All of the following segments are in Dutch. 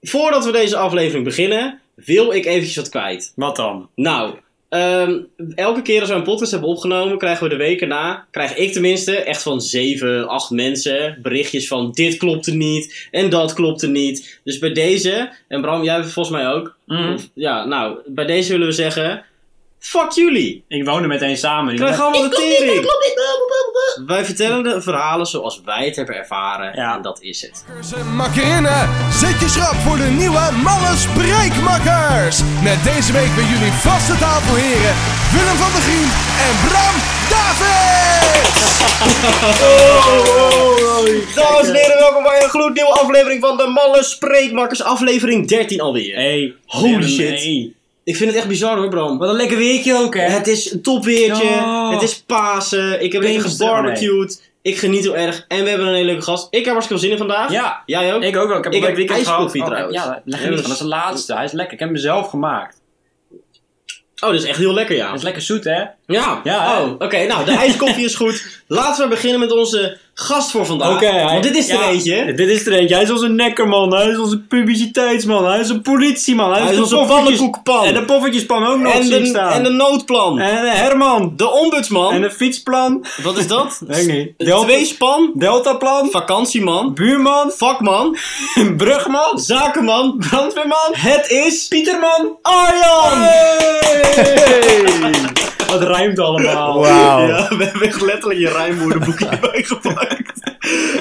Voordat we deze aflevering beginnen, wil ik eventjes wat kwijt. Wat dan? Nou, ehm, elke keer als we een podcast hebben opgenomen, krijgen we de weken na, krijg ik tenminste, echt van 7, 8 mensen berichtjes van dit klopte niet en dat klopte niet. Dus bij deze, en Bram, jij volgens mij ook. Mm. Of- ja, nou, bij deze willen we zeggen, fuck jullie. Ik woon er meteen samen. Die Krijg mensen- allemaal de tering. klopt niet. blablabla. Wij vertellen de verhalen zoals wij het hebben ervaren Ja. en dat is het. Makkers en makkerinnen, zet je schrap voor de nieuwe Malle Spreekmakkers. Met deze week bij jullie vaste tafelheren Willem van der Grien en Bram David. Dames en heren, welkom bij een gloednieuwe aflevering van de Malle Spreekmakers, aflevering 13 alweer. Hey. Holy Willem, shit. hey. Ik vind het echt bizar hoor, Bram. Wat een lekker weertje ook, hè? Het is een topweertje, Ja. het is Pasen, ik heb Ben je lekker gestemd? gebarbecued, ik geniet heel erg en we hebben een hele leuke gast. Ik heb hartstikke veel zin in vandaag. Ja. Jij ook? Ik ook wel. Ik heb Ik een heb leuk weekend gehad. Oh, ijskoffie trouwens. ja, leg er niet van. Dat is de laatste. Hij is lekker. Ik heb hem zelf gemaakt. Oh, dat is echt heel lekker ja. Hij is lekker zoet, hè? Ja, Ja, hè? oh, oké. nou, de ijskoffie is goed. Laten we beginnen met onze gast voor vandaag. Want dit is er eentje. Dit is er eentje. Hij is onze nekkerman. Hij is onze publiciteitsman. Hij is een politieman. Hij is onze pannenkoekpan. En de poffertjespan ook nog en, zien de, staan. en de noodplan. en de Herman. De ombudsman. En de fietsplan. Wat is dat? Weet ik niet. Delta- Tweespan. Deltaplan. Vakantieman. Buurman. Vakman. Brugman. Zakenman. Brandweerman. Het is Pieterman. Arjan! Hey! Het ruimt allemaal. Ja, we hebben echt letterlijk je rijmwoordenboekje erbij gepakt.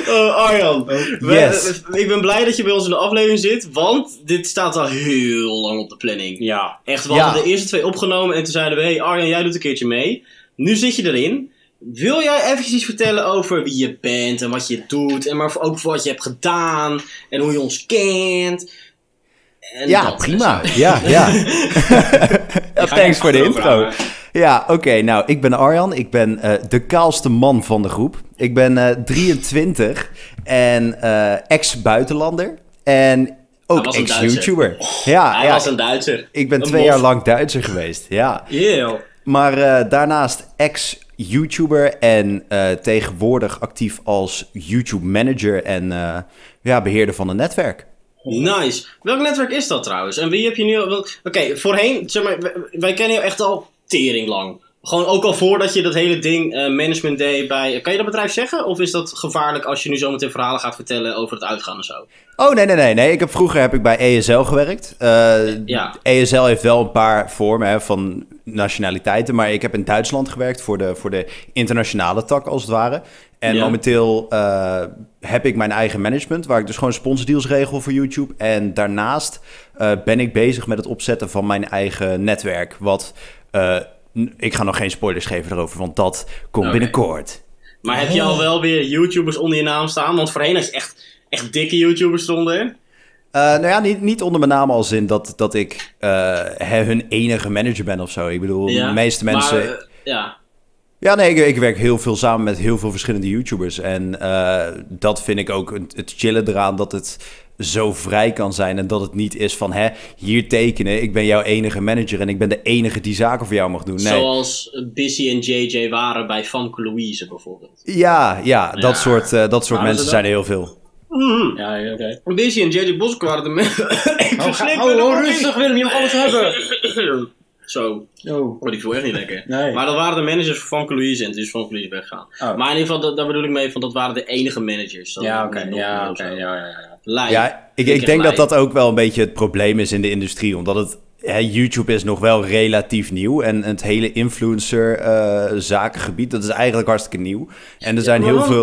Eh, Arjan, we- yes. we- ik ben blij dat je bij ons in de aflevering zit, want dit staat al heel lang op de planning. Ja. Echt, we Ja. hadden de eerste twee opgenomen en toen zeiden we, hey Arjan, jij doet een keertje mee. Nu zit je erin. Wil jij eventjes iets vertellen over wie je bent en wat je doet, en maar ook wat je hebt gedaan en hoe je ons kent? En Ja, dat. prima. Ja, ja. Thanks voor de intro. Ja, oké. nou, ik ben Arjan. Ik ben eh, de kaalste man van de groep. Ik ben eh, 23 en eh, ex-buitenlander. En ook was een Duitser. Oh, ex-YouTuber. Ja, Hij ja was een Duitser. ik ben Een twee mof. jaar lang Duitser geweest. Ja. Eeuw. Maar eh, daarnaast ex-YouTuber en eh, tegenwoordig actief als YouTube-manager en eh, ja, beheerder van een netwerk. Nice. Welk netwerk is dat trouwens? En wie heb je nu al... wel- Oké, voorheen, zeg maar, wij, wij kennen jou echt al tering lang. Gewoon ook al voordat je dat hele ding eh, management deed bij... Kan je dat bedrijf zeggen? Of is dat gevaarlijk als je nu zometeen verhalen gaat vertellen over het uitgaan en zo? Oh, nee, nee, nee. nee. Ik heb, vroeger heb ik bij ESL gewerkt. Eh, Ja. ESL heeft wel een paar vormen hè, van nationaliteiten. Maar ik heb in Duitsland gewerkt voor de, voor de internationale tak, als het ware. En Ja. momenteel eh, heb ik mijn eigen management, waar ik dus gewoon sponsordeals regel voor YouTube. En daarnaast eh, ben ik bezig met het opzetten van mijn eigen netwerk. Wat, eh, n- ik ga nog geen spoilers geven erover, want dat komt Oké. binnenkort. Maar heb je al wel weer YouTubers onder je naam staan? Want voorheen is echt, echt dikke YouTubers stonden. Eh, nou ja, niet, niet onder mijn naam als in dat, dat ik eh, hè, hun enige manager ben of zo. Ik bedoel, de meeste mensen... eh, ja. Ja, nee, ik, ik werk heel veel samen met heel veel verschillende YouTubers. En eh, dat vind ik ook het, het chillen eraan dat het zo vrij kan zijn. En dat het niet is van, hè, hier tekenen, ik ben jouw enige manager en ik ben de enige die zaken voor jou mag doen. Nee. Zoals Busy en JJ waren bij Famke Louise bijvoorbeeld. Ja, ja, dat Ja. soort, eh, dat soort Waren ze mensen dat? zijn er heel veel. Ja, oké. Busy en JJ Bosk waren de mensen... Ik Oh, verslik ga- me oh, de oh, koffie. rustig Willem, je mag alles hebben. Zo. Oh. Oh, die viel echt niet lekker. Nee. Maar dat waren de managers van Famke Louise en toen is Famke Louise weggegaan. Oh. Maar in ieder geval, dat, daar bedoel ik mee van, dat waren de enige managers. Dat Ja, was oké. niet nog meer Ja, of oké. zo. Ja, ja, ja. Lijn. Ja, ik, Vind ik denk echt dat lijn. dat ook wel een beetje het probleem is in de industrie. Omdat het, hè, YouTube is nog wel relatief nieuw. En het hele influencer-zakengebied, dat is eigenlijk hartstikke nieuw. En er zijn heel waarom?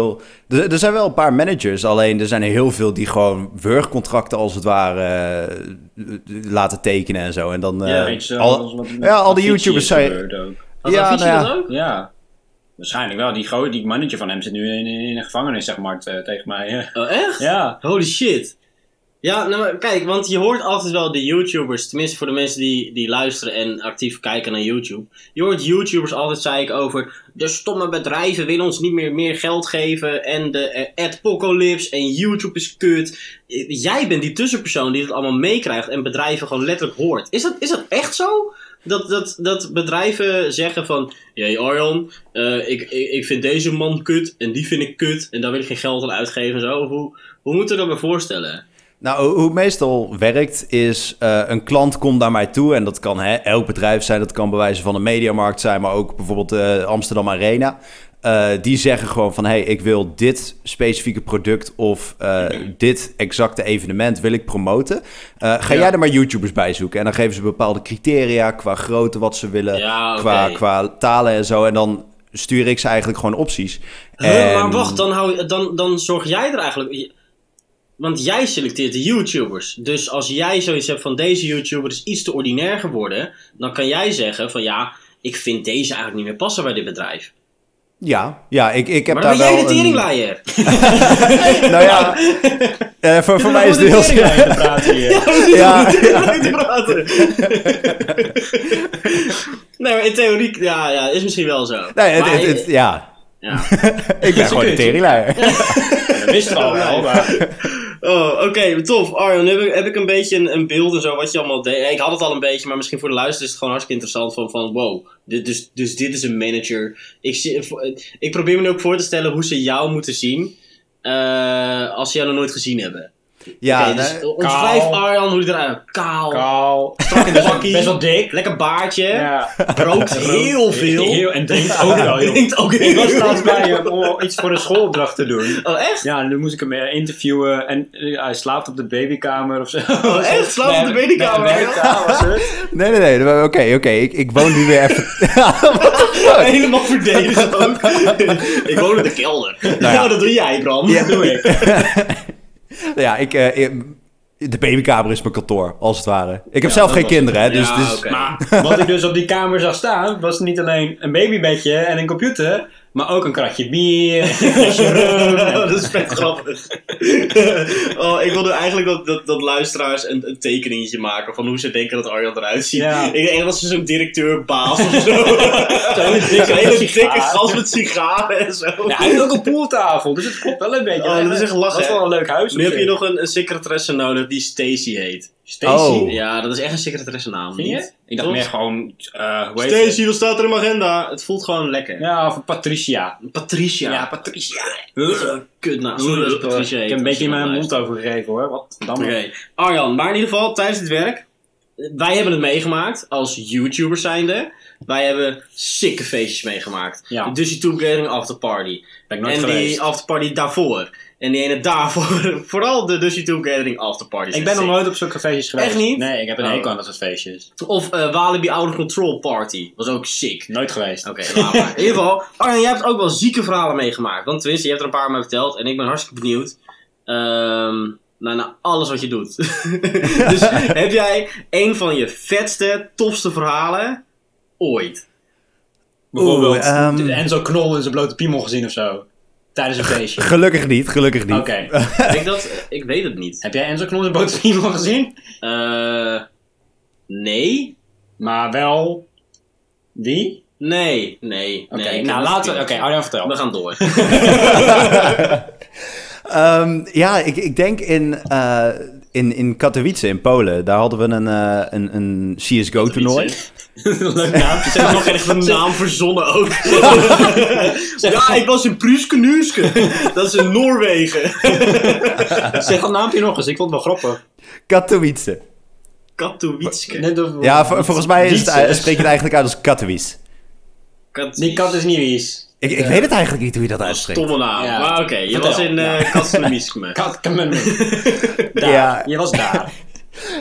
veel... Er, er zijn wel een paar managers, alleen er zijn er heel veel die gewoon wurgcontracten als het ware eh, laten tekenen en zo. En dan... eh, Ja, iets, eh, als al, wat- ja, al die Avicii YouTubers is zijn... gebeurd ook. Had Ja, Avicii nou ja. Oh, dat ook? Ja. Waarschijnlijk wel. Die, gooi, die mannetje van hem zit nu in, in een gevangenis, zeg maar, te- tegen mij. Ja. Oh, echt? Ja. Holy shit. Ja, nou maar kijk, want je hoort altijd wel de YouTubers, tenminste voor de mensen die, die luisteren en actief kijken naar YouTube. Je hoort YouTubers altijd zeiken over de stomme bedrijven willen ons niet meer, meer geld geven en de eh, adpocalypse en YouTube is kut. Eh, Jij bent die tussenpersoon die het allemaal meekrijgt en bedrijven gewoon letterlijk hoort. Is dat, is dat echt zo? Dat, dat, dat bedrijven zeggen van, jee Arjan, eh, ik, ik, ik vind deze man kut en die vind ik kut en daar wil ik geen geld aan uitgeven en zo. Of hoe, hoe moeten we dat me voorstellen? Nou, hoe- hoe het meestal werkt is, eh, een klant komt naar mij toe en dat kan hè, elk bedrijf zijn, dat kan bij wijze van een mediamarkt zijn, maar ook bijvoorbeeld de Amsterdam Arena. Eh, die zeggen gewoon van, hey, ik wil dit specifieke product of eh, Mhm. dit exacte evenement wil ik promoten. Eh, ga Ja. jij er maar YouTubers bij zoeken en dan geven ze bepaalde criteria qua grootte wat ze willen, Ja, oké. qua, qua talen en zo. En dan stuur ik ze eigenlijk gewoon opties. Huh, En- Maar wacht, dan, hou, dan, dan zorg jij er eigenlijk... Want jij selecteert de YouTubers. Dus als jij zoiets hebt van deze YouTuber is iets te ordinair geworden... dan kan jij zeggen van ja, ik vind deze eigenlijk niet meer passen bij dit bedrijf. Ja, ja ik, ik heb Maar daar dan ben jij wel de een- teringlaaier. Nou ja, eh, voor, voor mij is het gewoon heel de scherp. Te praten hier. Ja, te praten. nee, maar in theorie, ja, ja, is misschien wel zo. nee, het, Maar, het, het- ja. ja. ik ben gewoon een teringlaaier. Dat wisten we al wel, maar... Oh, oké, tof. Arjan, heb ik, heb ik een beetje een, een beeld en zo wat je allemaal deed? Ik had het al een beetje, maar misschien voor de luisteraar is het gewoon hartstikke interessant. Van, van wow, dit, dus, dus dit is een manager. Ik, zie- eh, ik probeer me nu ook voor te stellen hoe ze jou moeten zien eh, als ze jou nog nooit gezien hebben. Ja, Oké, dus nee, omschrijf kaal. Arjan hoe hij eruit Kaal, Kaal. strak in de bakkie, Best wel dik. lekker baardje, Ja. rookt heel veel. Heel, en drinkt ook wel heel Drinkt ook heel Ik was laatst veel. bij hem om iets voor een schoolopdracht te doen. Oh, echt? Ja, en nu moest ik hem eh, interviewen en eh, hij slaapt op de babykamer of zo. Oh, echt? Slaapt op de babykamer, Nee, hè? babykamer, was het. nee, nee, nee, Oké, oké. ik, ik woon nu weer even... Helemaal verdedigd ook. ik woon in de kelder. Nou, dat doe jij, Bram. Ja. Doe ik. ja, ik... eh, ik- de babykamer is mijn kantoor, als het ware. Ik heb zelf geen kinderen, hè, dus... Ja, dus Ah, oké. Maar wat ik dus op die kamer zag staan, was niet alleen een babybedje en een computer, maar ook een kratje bier, een flesje rum. Oh, dat is vet grappig. oh, ik wilde eigenlijk dat, dat, dat luisteraars een, een tekeningetje maken van hoe ze denken dat Arjan eruit ziet. Ja. Ik denk eigenlijk dat ze zo'n directeur-baas of zo. Zo'n hele dikke Zo'n hele dikke sigaar. gast met sigaren en zo. Ja, hij heeft ook een poeltafel, dus het klopt wel een beetje. Oh, dat is echt lachen, Dat is wel hè? een leuk huis. op nu heb je zich. nog een, een secretaresse nodig die Stacy heet. Stacy. Oh. Ja, dat is echt een secretaressennaam. Vind je? niet? Ik dacht Toch? meer gewoon, eh hoe heet het? Stacy, wat staat er in mijn agenda? Het voelt gewoon lekker. Ja, of Patricia. Patricia. Ja, Patricia. Kutnaam. Sorry, Sorry, dat dat is is Patricia. Ik heb een beetje in mijn mond overgegeven hoor. Wat dan? Oké. Arjan, maar in ieder geval, tijdens dit werk. eh, Wij hebben het meegemaakt als YouTubers zijnde. Wij hebben sikke feestjes meegemaakt. Ja. Dus die Tomb Raider afterparty. Ben ik nooit En geweest. die afterparty daarvoor. En die ene daarvoor. Vooral de Dusty Tomb Gathering afterparties. Ik ben nog Sick. nooit op zulke feestjes geweest. Echt niet? Nee, ik heb een Oh. hekel aan dat soort feestjes. Of eh, Walibi Out of Control Party. Was ook sick. Nooit geweest. Oké, laat maar. In ieder geval, Arjan, jij hebt ook wel zieke verhalen meegemaakt. Want tenminste, je hebt er een paar mij verteld. En ik ben hartstikke benieuwd ehm, naar, naar alles wat je doet. dus heb jij een van je vetste, tofste verhalen ooit? Bijvoorbeeld Oeh, ehm. de Enzo Knol in zijn blote piemel gezien of zo. Tijdens een feestje. Oké. Gelukkig niet, gelukkig niet. Heb ik dat? Ik weet het niet. Heb jij Enzo Knol in zijn blote piemel gezien? Eh, nee? Maar wel... Die? Nee, nee, Oké, nee. ik nou heb laten we... het Oké, Arjan vertel. We gaan door. Ehm, ja, ik, ik denk in, eh, in, in Katowice in Polen, daar hadden we een, eh, een, een CSGO-toernooi. Leuk naam. Ze hebben nog echt een naam verzonnen ook. ja, ik was in Pruske Nuuske. Dat is in Noorwegen. Zeg dat naampje nog eens, ik vond het wel grappig. Katowice. Katowice. Net of- Ja, vol- volgens mij is het, Wietse. eh, spreek je het eigenlijk uit als Katowice. Die kat is niet wies. Ik, ik weet het eigenlijk niet hoe je dat uitspreekt. Stomme naam. Ja. Maar oké, je Vertel. was in Ja. eh Katsumimiskme. Kat kan men- Daar. Ja. Je was daar.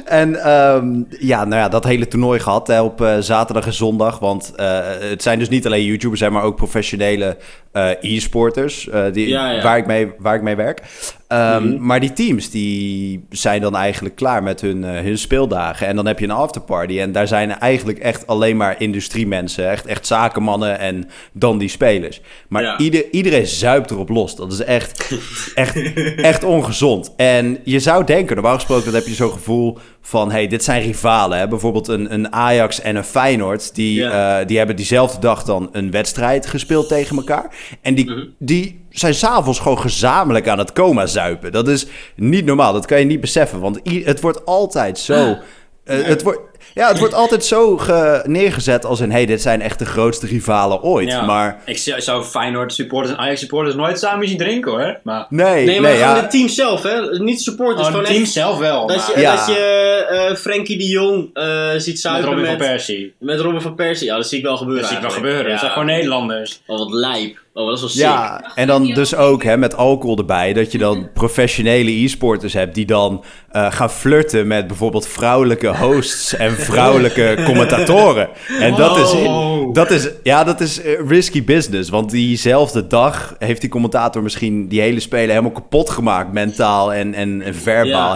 En ehm, ja, nou ja, dat hele toernooi gehad hè, op eh, zaterdag en zondag. Want eh, het zijn dus niet alleen YouTubers, hè, maar ook professionele eh, e-sporters eh, die, Ja, Mhm. ja. Waar, ik mee, waar ik mee werk. Ehm, Maar die teams die zijn dan eigenlijk klaar met hun, eh, hun speeldagen. En dan heb je een afterparty. En daar zijn eigenlijk echt alleen maar industriemensen. Echt, echt zakenmannen en dan die spelers. Maar Ja. ieder, iedereen zuipt erop los. Dat is echt, echt, echt ongezond. En je zou denken, normaal gesproken dan heb je zo'n gevoel van... hey, dit zijn rivalen. Hè? Bijvoorbeeld een, een Ajax en een Feyenoord... Die, Ja. eh, die hebben diezelfde dag dan een wedstrijd gespeeld tegen elkaar. En die, die zijn s'avonds gewoon gezamenlijk aan het coma zuipen. Dat is niet normaal. Dat kan je niet beseffen. Want i- het wordt altijd zo... eh, het wordt... Ja, het wordt altijd zo ge- neergezet als een... hey, dit zijn echt de grootste rivalen ooit. Ja. Maar Ik zou zou Feyenoord supporters en Ajax supporters nooit samen zien drinken hoor. Maar... nee, Nee, nee, maar gewoon ja. het team zelf, hè? Niet supporters, Oh, gewoon het team echt... zelf wel. Dat je, maar- Ja. dat je eh, Frenkie de Jong eh, ziet met zuipen Robin van met, met, Persie. Robin van Persie. Ja, dat zie ik wel gebeuren Dat zie ik wel eigenlijk. gebeuren. Dat zijn Ja. gewoon Nederlanders. Oh, wat lijp. Oh, dat is wel sick. Ja, en dan dus ook hè, met alcohol erbij, dat je dan professionele e-sporters hebt die dan eh, gaan flirten met bijvoorbeeld vrouwelijke hosts en vrouwelijke commentatoren. En dat is, Wow. dat is, ja, dat is eh, risky business, want diezelfde dag heeft die commentator misschien die hele spelen helemaal kapot gemaakt, mentaal en, en, en verbaal.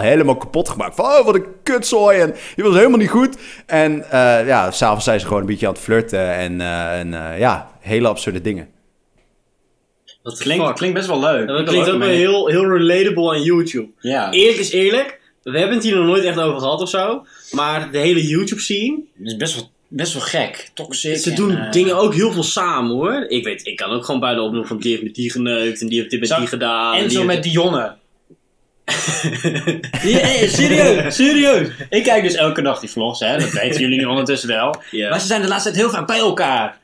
Ja. Helemaal kapot gemaakt. Van, oh, wat een kutzooi en je was helemaal niet goed. En eh, ja, s'avonds zijn ze gewoon een beetje aan het flirten en, eh, en eh, ja, hele absurde dingen. Wat Klinkt, klinkt best wel leuk. En dat Ik klinkt wil ook wel mee. heel, heel relatable aan YouTube. Ja, het Eerlijk is eerlijk, we hebben het hier nog nooit echt over gehad of zo. Maar de hele YouTube scene, is best wel, best wel gek. Toxic. ze en, doen eh, dingen ook heel veel samen hoor. Ik weet, ik kan ook gewoon bij de opnoemen van die heeft met die geneukt en die heeft dit met Zo- die gedaan. En die zo heeft- met Dionne. Ja, eh, serieus, serieus. Ik kijk dus elke dag die vlogs, hè. dat weten jullie nu ondertussen wel. Ja. Maar ze zijn de laatste tijd heel vaak bij elkaar.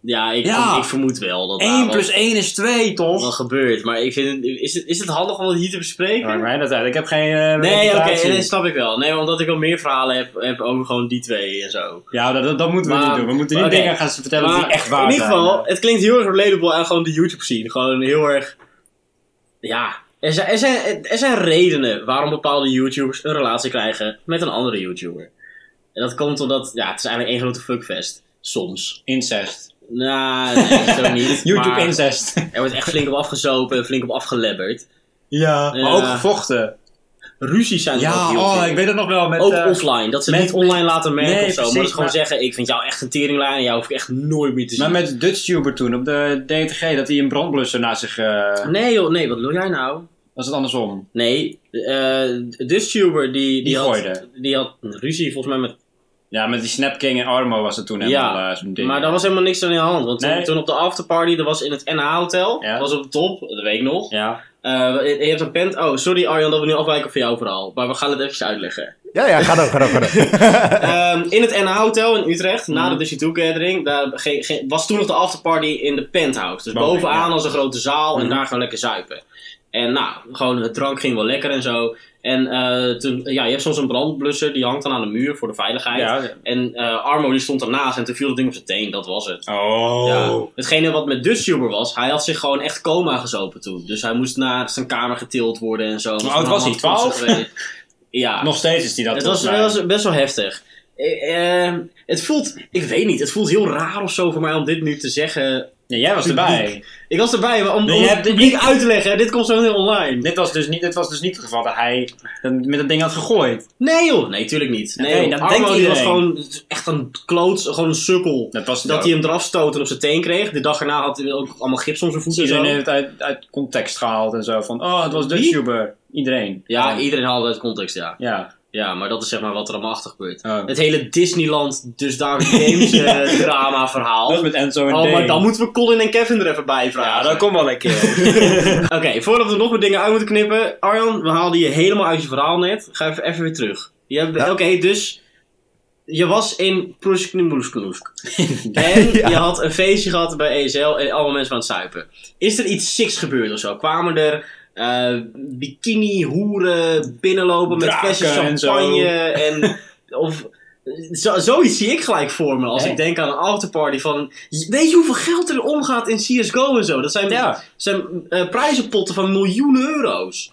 Ja, ik, Ja. ik vermoed wel dat 1 daar plus wat, 1 is 2, wat toch? gebeurt. Maar ik vind, is, het, is het handig om het hier te bespreken? Maar mij dat uit. Ik heb geen eh, Nee, oké, reputatie. nee, snap ik wel. Nee, omdat ik al meer verhalen heb, heb over gewoon die twee en zo. Ja, dat, dat, dat moeten we Maar- niet doen. We moeten niet oké. dingen gaan vertellen die Maar echt waar in ieder zijn. geval, het klinkt heel erg relatable aan gewoon de YouTube scene. Gewoon heel erg. Ja. Er zijn, er, zijn, er zijn redenen waarom bepaalde YouTubers een relatie krijgen met een andere YouTuber. En dat komt omdat, ja, het is eigenlijk één grote fuckfest. Soms. Incest. Nou, nee, zo niet. YouTube maar incest. Er wordt echt flink op afgezopen en flink op afgelebberd. ja. Maar ook Ja. gevochten. Ruzies zijn er ook Ja, heel oh, veel. ik weet het nog wel met... Ook eh, offline. Dat ze met- niet online laten merken Nee, of zo. maar dat precies, ze gewoon zeggen, ik vind jou echt een teringlijn en jou hoef ik echt nooit meer te zien. maar met DutchTuber toen op de DTG, dat hij een brandblusser naast zich... eh, Nee joh, nee, wat wil jij nou? was het andersom? Nee, eh dus tuber die, die, Die had, gooide. die had een ruzie volgens mij met... Ja, met die Snapking en Armo was het toen helemaal Ja, eh, zo'n ding. maar daar was helemaal niks aan in de hand. Want toen- Nee. toen, op de afterparty, dat was in het NH-hotel, Ja. was op de top, dat weet ik nog. Ja. Eh, je je hebt een pent... Oh, sorry Arjan dat we nu afwijken van jouw verhaal, maar we gaan het even uitleggen. Ja, ja, ga door, ga door, ga door. Ehm, in het NH-hotel in Utrecht, na Mhm. de Dusty 2 Gathering, daar ge- ge- was toen nog de afterparty in de penthouse. Dus Boven, bovenaan ja. als een grote zaal en Mhm. daar gewoon lekker zuipen. En nou, gewoon de drank ging wel lekker en zo. En eh, toen, ja, je hebt soms een brandblusser, die hangt dan aan de muur voor de veiligheid. ja. En eh, Armo die stond ernaast en toen viel dat ding op zijn teen, dat was het. Oh. Ja. Hetgene wat met Dutchuber was, hij had zich gewoon echt coma gezopen toen. Dus hij moest naar zijn kamer getild worden en zo. Hoe oud was hij? 12? ja, Nog steeds is die dat het was, volgens het mij. was best wel heftig. Eh, eh, het voelt, ik weet niet, het voelt heel raar of zo voor mij om dit nu te zeggen. Ja, jij was erbij. Ik was erbij, maar om, Nee, om je het hebt- publiek uit te leggen, dit komt zo heel online. Dit was, dus niet, dit was dus niet het geval dat hij dat- met dat ding had gegooid. Nee joh, nee tuurlijk niet. nee, Nee, dat joh. Armo denkt die was iedereen. gewoon echt een kloots, gewoon een sukkel. Dat was het Dat ook. hij hem eraf stoot en op zijn teen kreeg. De dag erna had hij ook allemaal gips om zijn voeten en zo. Iedereen heeft het uit, uit context gehaald en zo. Van, oh, het was Wie? DutchTuber. Iedereen. Oh, Ja, iedereen haalde uit context, ja. Ja. Ja, maar dat is zeg maar wat er allemaal achter gebeurt. Oh. Het hele Disneyland, dus daar Games Ja. eh, drama verhaal. Dat was met Enzo en Oh, maar Dave. dan moeten we Colin en Kevin er even bij Ja, vragen. dat komt wel lekker. Oké, voordat we nog wat dingen uit moeten knippen. Arjan, we haalden je helemaal uit je verhaal net. Ga even, even weer terug. Je hebt- Ja. Oké, dus... Je was in Prusknoemloesknoesk. En Ja. je had een feestje gehad bij ESL en allemaal mensen waren aan het zuipen. Is er iets siks gebeurd of zo? Kwamen er eh, bikini-hoeren binnenlopen met Draken flesjes en zo. champagne? En, of, zo, zoiets zie ik gelijk voor me als Ja. ik denk aan een afterparty van... Weet je hoeveel geld er omgaat in CSGO en zo? Dat zijn, Ja. zijn eh, prijzenpotten van miljoenen euro's.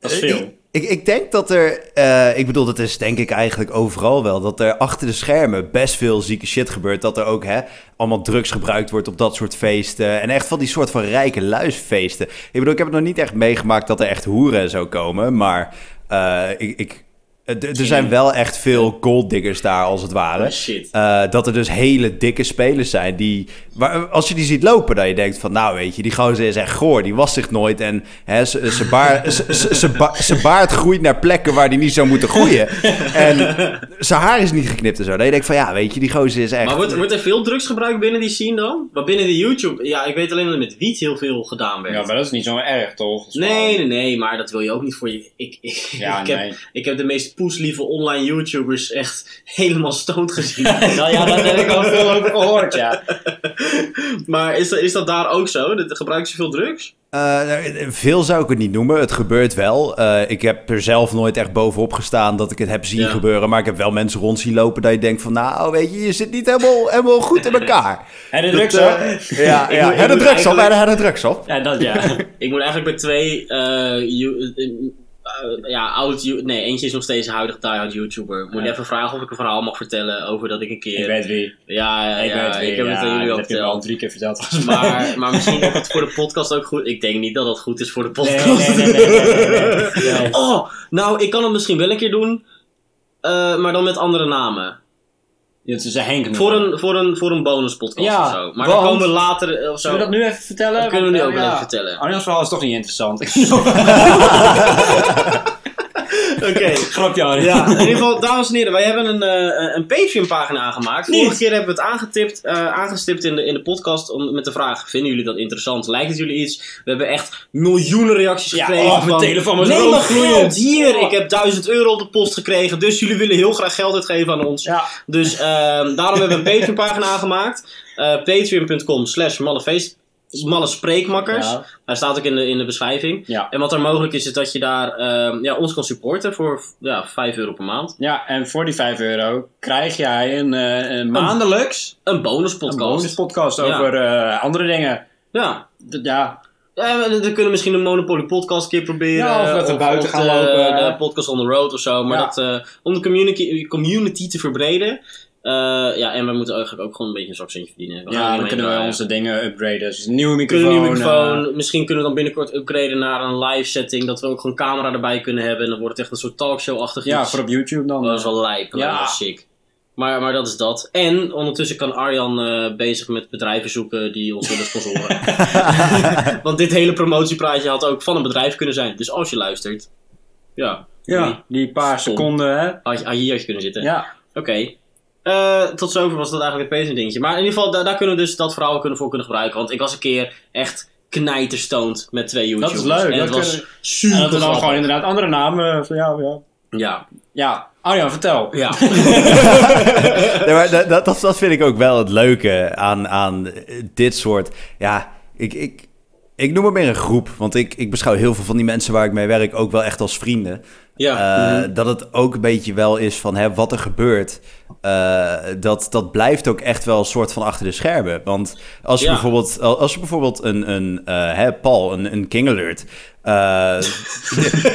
Dat is veel. Ik, ik denk dat er, eh, ik bedoel, dat is denk ik eigenlijk overal wel, dat er achter de schermen best veel zieke shit gebeurt. Dat er ook hè, allemaal drugs gebruikt wordt op dat soort feesten. En echt van die soort van rijke luisfeesten. Ik bedoel, ik heb het nog niet echt meegemaakt dat er echt hoeren en zo komen. Maar eh, ik, ik, eh, d- er zijn wel echt veel golddiggers daar, als het ware. Ah, Oh, shit. Eh, dat er dus hele dikke spelers zijn die... Waar, als je die ziet lopen, dan je denkt van... Nou weet je, die gozer is echt goor. Die was zich nooit. En hè, ze- ze baar- ze- ze- ze ba- zijn baard groeit naar plekken waar die niet zou moeten groeien. En zijn haar is niet geknipt en zo. Dan je denkt van... Ja, weet je, die gozer is echt... Maar wordt, wordt er veel drugs gebruikt binnen die scene dan? Maar binnen de YouTube... Ja, ik weet alleen dat er met wiet heel veel gedaan werd. Ja, maar dat is niet zo erg, toch? Dat is wel- Nee, nee, nee, maar dat wil je ook niet voor je. Ik, ik, Ja, ik, heb, nee. ik heb de meest meest poeslieve online YouTubers echt helemaal stoot gezien. Nou ja, dat heb ik al veel over gehoord, ja. maar is dat, is dat daar ook zo? Dat- Gebruiken ze veel drugs? Eh, nou, veel zou ik het niet noemen. Het gebeurt wel. Eh, ik heb er zelf nooit echt bovenop gestaan dat ik het heb zien Ja. gebeuren. Maar ik heb wel mensen rond zien lopen dat je denkt van... Nou, weet je, je zit niet helemaal, helemaal goed in elkaar. En de Dat, drugs eh, hoor. ja, Ik ja. moet- ik En de moet drugs op, eigenlijk- en de drugs op. Ja, dat ja. Ik moet eigenlijk bij twee eh, you- eh, eh, ja, oud... you- Nee, eentje is nog steeds een huidige diehard YouTuber. Moet Ja. je even vragen of ik een verhaal mag vertellen over dat ik een keer... Ik weet wie. Ja, ja, Ik ja, weet wie. ik heb het Ja, aan jullie dat al heb je me al verteld. drie keer verteld. volgens mij. Maar, maar misschien dat het voor de podcast ook goed... Ik denk niet dat dat goed is voor de Nee, podcast. nee, nee, nee, nee, nee, nee. Oh, nou, ik kan het misschien wel een keer doen. eh, maar dan met andere namen. Ja, Het is een Henk nummer. Voor een, voor een, voor een bonuspodcast Ja, of zo. Maar want- dan komen we later eh, of zo. Zullen we dat nu even vertellen? Dat kunnen we nu Want, ook eh, wel ja. even vertellen. Arjan's verhaal is toch niet interessant. Oké. Grapje, Arjan. Ja, in ieder geval, dames en heren, wij hebben een, eh, een Patreon-pagina aangemaakt. Vorige keer hebben we het aangetipt, eh, aangestipt in de, in de podcast om, met de vraag: Vinden jullie dat interessant? Lijkt het jullie iets? We hebben echt miljoenen reacties Ja, gekregen. oh, mijn van, telefoon was "Neem maar roodgloeiend." geld hier. Oh. Ik heb 1000 euro op de post gekregen, dus jullie willen heel graag geld uitgeven aan ons. Ja. Dus ehm, daarom hebben we een Patreon-pagina aangemaakt. Eh, Patreon.com slash mallefeest- malle spreekmakkers. Ja. Hij staat ook in de, in de beschrijving. Ja. En wat er mogelijk is, is dat je daar ehm, ja, ons kan supporten voor ja, 5 euro per maand. Ja, en voor die 5 euro krijg jij een, eh, een maandelijks Een bonuspodcast. een bonus podcast over eh, andere dingen. Ja. D- Ja, Ja, we, we kunnen misschien een Monopoly podcast een keer proberen. Ja, of dat we buiten gaan de, lopen. de podcast on the road of zo. Maar Ja. dat, eh, om de community, community te verbreden. Eh, ja, en we moeten eigenlijk ook gewoon een beetje een zakcentje verdienen. gaan ja hiermee dan kunnen we draaien. onze dingen upgraden. Dus een nieuwe kunnen microfoon. een nieuwe microfoon. eh, Misschien kunnen we dan binnenkort upgraden naar een live setting. Dat we ook gewoon camera erbij kunnen hebben. En dan wordt het echt een soort talkshow-achtig ja, iets. voor op YouTube dan. Dat is wel lijp, dat Ja. is wel sick. Maar, maar dat is dat. En ondertussen kan Arjan eh, bezig met bedrijven zoeken die ons willen sponsoren. Want dit hele promotiepraatje had ook van een bedrijf kunnen zijn. Dus als je luistert, ja, ja, die paar Stom. seconden, hè. had je, had je hier had je kunnen zitten. Ja, Oké. Eh, tot zover was dat eigenlijk een Patreon dingetje. Maar in ieder geval, daar, daar kunnen we dus dat verhaal kunnen voor kunnen gebruiken. Want ik was een keer echt knijterstoned met twee dat YouTubers. is leuk. En Dat het was kunnen- super en dat er dan grappig. gewoon inderdaad andere namen. eh, van, ja, ja. Ja, ja, Arjan, vertel. ja. Nee, maar dat, dat, dat- dat vind ik ook wel het leuke aan, aan dit soort. Ja, ik, ik, ik noem het meer een groep. Want ik, ik beschouw heel veel van die mensen waar ik mee werk ook wel echt als vrienden. ja. Mhm. Eh, Dat het ook een beetje wel is van hè, wat er gebeurt. eh, dat, dat blijft ook echt wel een soort van achter de schermen. Want als je Ja. bijvoorbeeld, als je bijvoorbeeld een, een eh, hè, Paul, een, een King Alert. eh,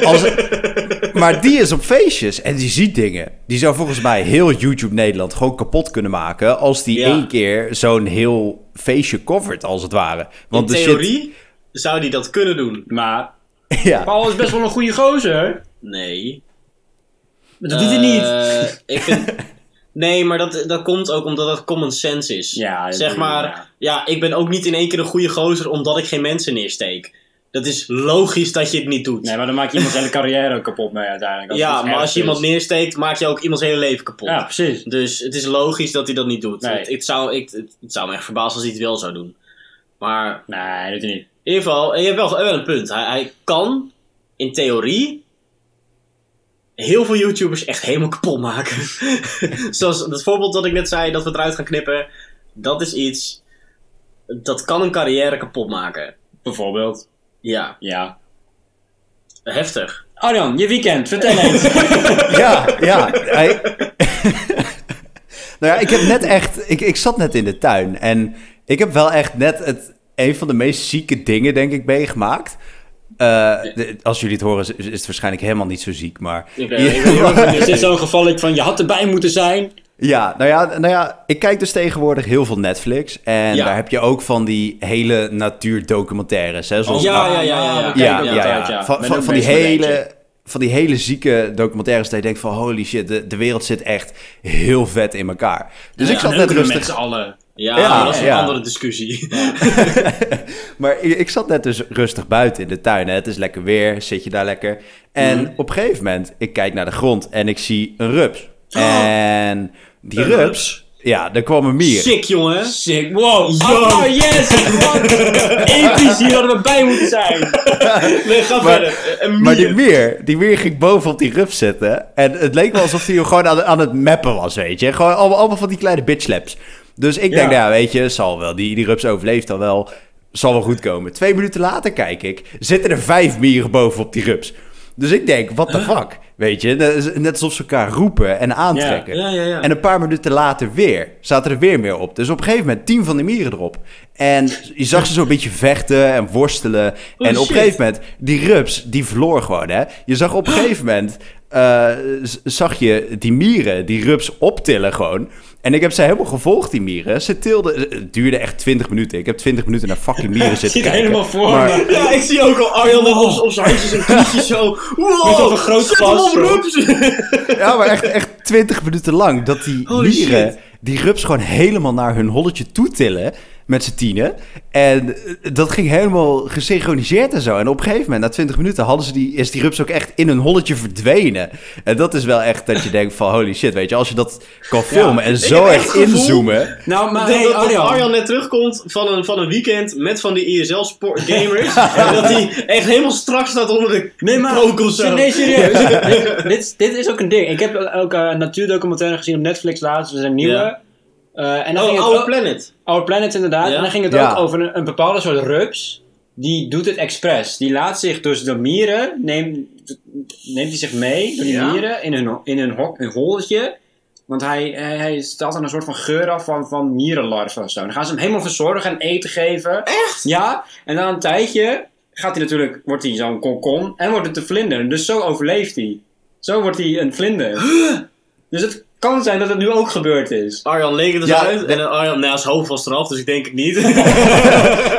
als, maar die is op feestjes en die ziet dingen. Die zou volgens mij heel YouTube Nederland gewoon kapot kunnen maken. als die Ja. één keer zo'n heel feestje covert, als het ware. In de shit- theorie zou die dat kunnen doen. Maar ja. Paul is best wel een goede gozer. Nee. Maar dat doet hij niet. Eh, ik vind... Nee, maar dat, dat komt ook omdat dat common sense is. Ja, dat zeg doe- maar, ja. ja. ik ben ook niet in één keer een goede gozer omdat ik geen mensen neersteek. Dat is logisch dat je het niet doet. Nee, maar dan maak je iemands hele carrière ook kapot mee uiteindelijk. het ja, iets maar ergs als je iemand is. dus- neersteekt, maak je ook iemands hele leven kapot. Ja, precies. Dus het is logisch dat hij dat niet doet. Nee. Het, het zou, ik, het, het zou me echt verbazen als hij het wel zou doen. Maar Nee, dat doet hij niet. in ieder geval, en je hebt wel, wel een punt. Hij, hij kan in theorie heel veel YouTubers echt helemaal kapot maken. Zoals het voorbeeld dat ik net zei, dat we het eruit gaan knippen. Dat is iets, dat kan een carrière kapot maken. Bijvoorbeeld. Ja, Ja. heftig. Arjan, je weekend, vertel eens. Ja, ja. Hij- nou ja, ik heb net echt... Ik, ik zat net in de tuin en ik heb wel echt net het, een van de meest zieke dingen, denk ik, meegemaakt. Eh, de- als jullie het horen, is, is het waarschijnlijk helemaal niet zo ziek, maar... Ik, eh, ik ben heel erg Is dit benieuwd. zo'n geval van je had erbij moeten zijn? Ja, nou ja, nou ja, ik kijk dus tegenwoordig heel veel Netflix. En Ja. daar heb je ook van die hele natuurdocumentaires. Hè, zoals Oh, Ja, Nou- ja, ja, ja, ja. we kijken ja, ook ja, altijd, ja. ja. Van, Met van, een van, die feestje. hele, van die hele zieke documentaires dat je denkt van... holy shit, de, de wereld zit echt heel vet in elkaar. Dus ik Ja, zat neuken net we rustig... Met z'n allen. Ja, Ja, maar dat is een ja. andere discussie. Maar i- ik zat net dus rustig buiten in de tuin. Hè. Het is lekker weer, zit je daar lekker. En Mhm. op een gegeven moment, ik kijk naar de grond en ik zie een rups. En die Oh. Een rups, rups? Ja, daar kwam een mier. Sick, jongen. Sick, wow. Yo. Oh, yes! Wat Episch, hier hadden we bij moeten zijn. Nee, ga Maar- verder. Een Maar die mier. meer, die meer ging boven op die rups zitten. En het leek wel alsof hij hem gewoon aan, aan het mappen was, weet je. Gewoon allemaal, allemaal van die kleine bitchlaps. Dus ik Ja. denk, nou ja, weet je, zal wel. Die, die rups overleeft al wel. Zal wel goed komen. Twee minuten later kijk ik, zitten er vijf mieren boven op die rups. Dus ik denk, what the fuck? Weet je, net als- net alsof ze elkaar roepen en aantrekken. Ja, ja, ja. En een paar minuten later weer, zaten er weer meer op. Dus op een gegeven moment tien van die mieren erop. En je zag ze zo'n beetje vechten en worstelen. en op een Oh, shit. gegeven moment, die rups, die verloor gewoon, hè. Je zag op een gegeven moment, eh, z- zag je die mieren, die rups optillen gewoon. En ik heb ze helemaal gevolgd, die mieren. Ze tilden, eh, het duurde echt 20 minuten. Ik heb 20 minuten naar fucking mieren Ik zitten zit kijken. helemaal voor Maar- me. Ja, ik zie ook al Arjan nog op, op zijn handjes en knietjes zo. Met Wow, zo'n groot zet hem glas, op zo. rups. Ja, maar echt, echt 20 minuten lang. Dat die Holy mieren shit. die rups gewoon helemaal naar hun holletje toetillen. Met z'n tienen. En eh, dat ging helemaal gesynchroniseerd en zo. En op een gegeven moment, na 20 minuten, hadden ze die, is die rups ook echt in hun holletje verdwenen. En dat is wel echt dat je denkt van holy shit, weet je. Als je dat kan filmen en zo heb echt echt het gevoel- inzoomen. Nou, maar dat, hey, dat- dat Arjan. Arjan net terugkomt van een, van een weekend met van die E ISL-gamers. gamers En dat hij echt helemaal strak staat onder de Nee, maar... kook of zo. Nee, serieus. dit, dit, dit is ook een ding. Ik heb ook eh natuurdocumentaire gezien op Netflix laatst. Er zijn nieuwe. Ja. Eh, en dan ging Oh, het Our ook- Planet. Our Planet inderdaad. Ja. En dan ging het Ja. ook over een, een bepaalde soort rups. Die doet het expres. Die laat zich dus door mieren, neemt, neemt hij zich mee door die Ja. mieren in hun, ho- in hun, hok, hun holletje. Want hij, hij, hij staat aan een soort van geur af van, van mierenlarven of zo. Dan gaan ze hem helemaal verzorgen en eten geven. Echt? Ja, en na een tijdje gaat hij natuurlijk, wordt hij zo'n kokon en wordt het een vlinder. Dus zo overleeft hij. Zo wordt hij een vlinder. Dus het kan zijn dat het nu ook gebeurd is. Arjan leek het dus Ja, uit. En eh, Arjan, nou, ja, zijn hoofd was eraf, dus ik denk het niet.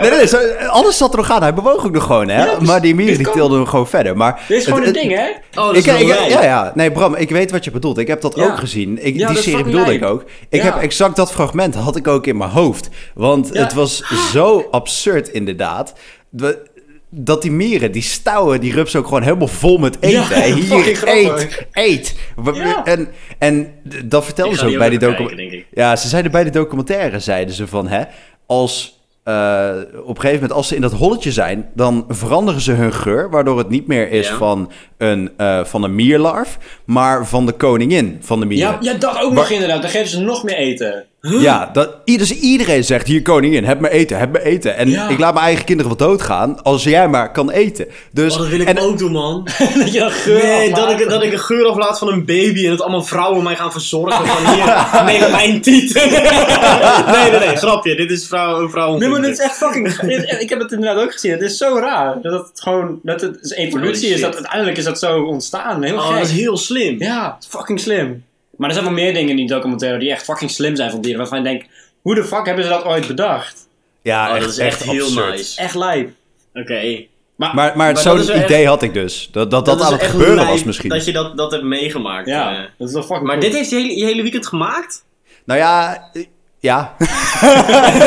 Nee, nee, nee, zo- alles zat er nog aan. Hij bewoog ook nog gewoon, hè. Ja, dus maar die mieren dit die kan- tilden hem gewoon verder. Maar Dit is gewoon het- een het- ding, hè? Oh, dat Ik, is wel ik, lijp. ja, ja. Nee, Bram, ik weet wat je bedoelt. Ik heb dat Ja. ook gezien. Ik, Ja, die dat is serie fucking bedoelde ik lijp. ook. Ik Ja. heb exact dat fragment had ik ook in mijn hoofd. Want Ja. het was zo absurd inderdaad. We- dat die mieren, die stouwen, die rups ook gewoon helemaal vol met eten. Ja, Hè. fucking Hier, eet, grappig. eet. We- Ja. En, en d- dat vertelden Ik ze ga die ook bij ook even die docu- kijken, denk ik. Ja, ze zeiden bij de documentaire, zeiden ze van, hè, als... eh, op een gegeven moment, als ze in dat holletje zijn, dan veranderen ze hun geur, waardoor het niet meer is Ja. van een, eh, van een mierlarf, maar van de koningin van de mieren. Ja, ja, dat ook nog inderdaad. Dan geven ze nog meer eten. Ja, dat, i- dus iedereen zegt, hier koningin, heb me eten, heb me eten. En Ja. ik laat mijn eigen kinderen wel doodgaan, als jij maar kan eten. Dus, Oh, dat wil ik en, ook doen, man. dat je dan geur Nee, dat afmaakt. ik, dat ik een geur aflaat van een baby en dat allemaal vrouwen mij gaan verzorgen van hier, neem mijn tieten. nee, nee, nee, grapje. Dit is vrouw, vrouw Nee, maar dit is echt fucking... dit- ik heb het inderdaad ook gezien. Het is zo raar. Dat het gewoon... Dat het dus evolutie Holy is. shit. Dat uiteindelijk is dat zo ontstaan. Heel Oh, gek. dat is heel slim. Ja, het is fucking slim. Maar er zijn wel meer dingen in die documentaire die echt fucking slim zijn van dieren. Waarvan je denkt, hoe de fuck hebben ze dat ooit bedacht? ja, Oh, echt, dat is echt, heel absurd. nice. Echt lijp. Oké. Maar, Maar, maar, Maar zo'n dat is wel idee had ik dus. Dat dat, dat, is aan het echt gebeuren lijp was misschien. Dat je dat, dat hebt meegemaakt. ja, eh. dat is wel fucking Maar cool. dit heeft je hele, je hele weekend gemaakt? Nou ja, eh, ja.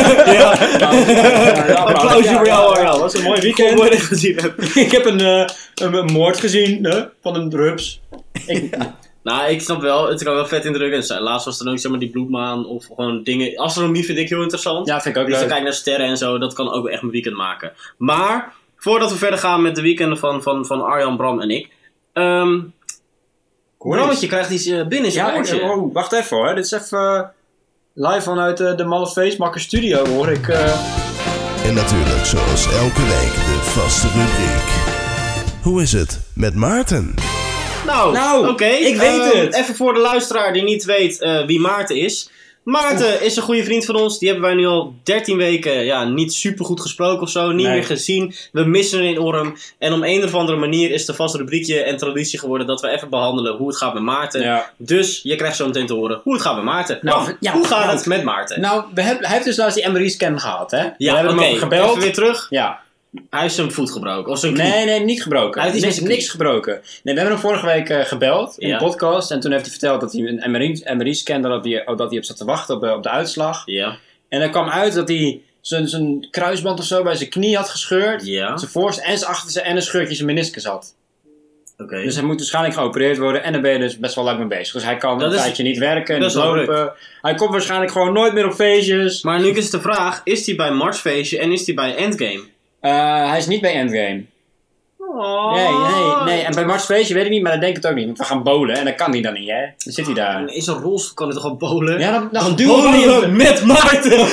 Ja, ja, Applausje ja, voor jou, ja, ja. Arjan. Dat was een mooi weekend. Mooi dat je het gezien hebt. Ik heb een, eh, een, een moord gezien hè, van een rups. Ik, Nou, ik snap wel. Het kan wel vet indrukwekkend zijn. Laatst was er ook zeg maar die bloedmaan of gewoon dingen. Astronomie vind ik heel interessant. Ja, vind ik ook Dus dan leuk. kijk ik naar sterren en zo. Dat kan ook echt mijn weekend maken. Maar, voordat we verder gaan met de weekenden van, van, van Arjan, Bram en ik. Ehm Brammetje krijgt iets eh, binnen in zijn Ja, ik, oortje. oh, wacht even hoor. Dit is even eh, live vanuit eh, de Malle Feestmaker Studio hoor. Ik, eh, En natuurlijk, zoals elke week, de vaste rubriek. Hoe is het met Maarten? Nou, Nou, oké. ik weet Ehm, het. Even voor de luisteraar die niet weet eh, wie Maarten is. Maarten is een goede vriend van ons. Die hebben wij nu al 13 weken ja, niet super goed gesproken of zo. Niet Nee. meer gezien. We missen hem in Orm. En om een of andere manier is de vaste rubriekje en traditie geworden dat we even behandelen hoe het gaat met Maarten. Ja. Dus je krijgt zo meteen te horen hoe het gaat met Maarten. Nou, Bram, ja, hoe gaat nou. het met Maarten? nou, we hebben, hij heeft dus laatst die MRI-scan gehad hè? we ja, hebben oké. hem ook gebeld. Even weer terug. Ja, Hij heeft zijn voet gebroken. Of zijn knie. Nee, nee, niet gebroken. Hij heeft iets niks, met zijn niks gebroken. Nee, we hebben hem vorige week eh, gebeld in Ja. de podcast. En toen heeft hij verteld dat hij een MRI-scan dat hij, oh, dat hij op zat te wachten op, eh, op de uitslag. Ja. En er kwam uit dat hij zijn, zijn kruisband of zo bij zijn knie had gescheurd. Ja. Zijn voorste en zijn achterste en een scheurtje in zijn meniscus had. Oké. Dus hij moet waarschijnlijk geopereerd worden en daar ben je dus best wel lang mee bezig. Dus hij kan Dat een is- tijdje niet werken en dat niet is wel lopen. Hij komt waarschijnlijk gewoon nooit meer op feestjes. Maar nu is de vraag, is die bij Marsfeestje en is die bij Endgame? Eh, hij is niet bij Endgame. Nee, nee, Oh. nee. En bij Mars Feestje weet ik niet, maar dat denk ik het ook niet. Want we gaan bowlen en dat kan hij dan niet, hè? Dan zit hij daar. Is een rolstoel kan het toch gewoon bowlen? Ja, dan, dan, duwen we hem. Bowlen met Maarten!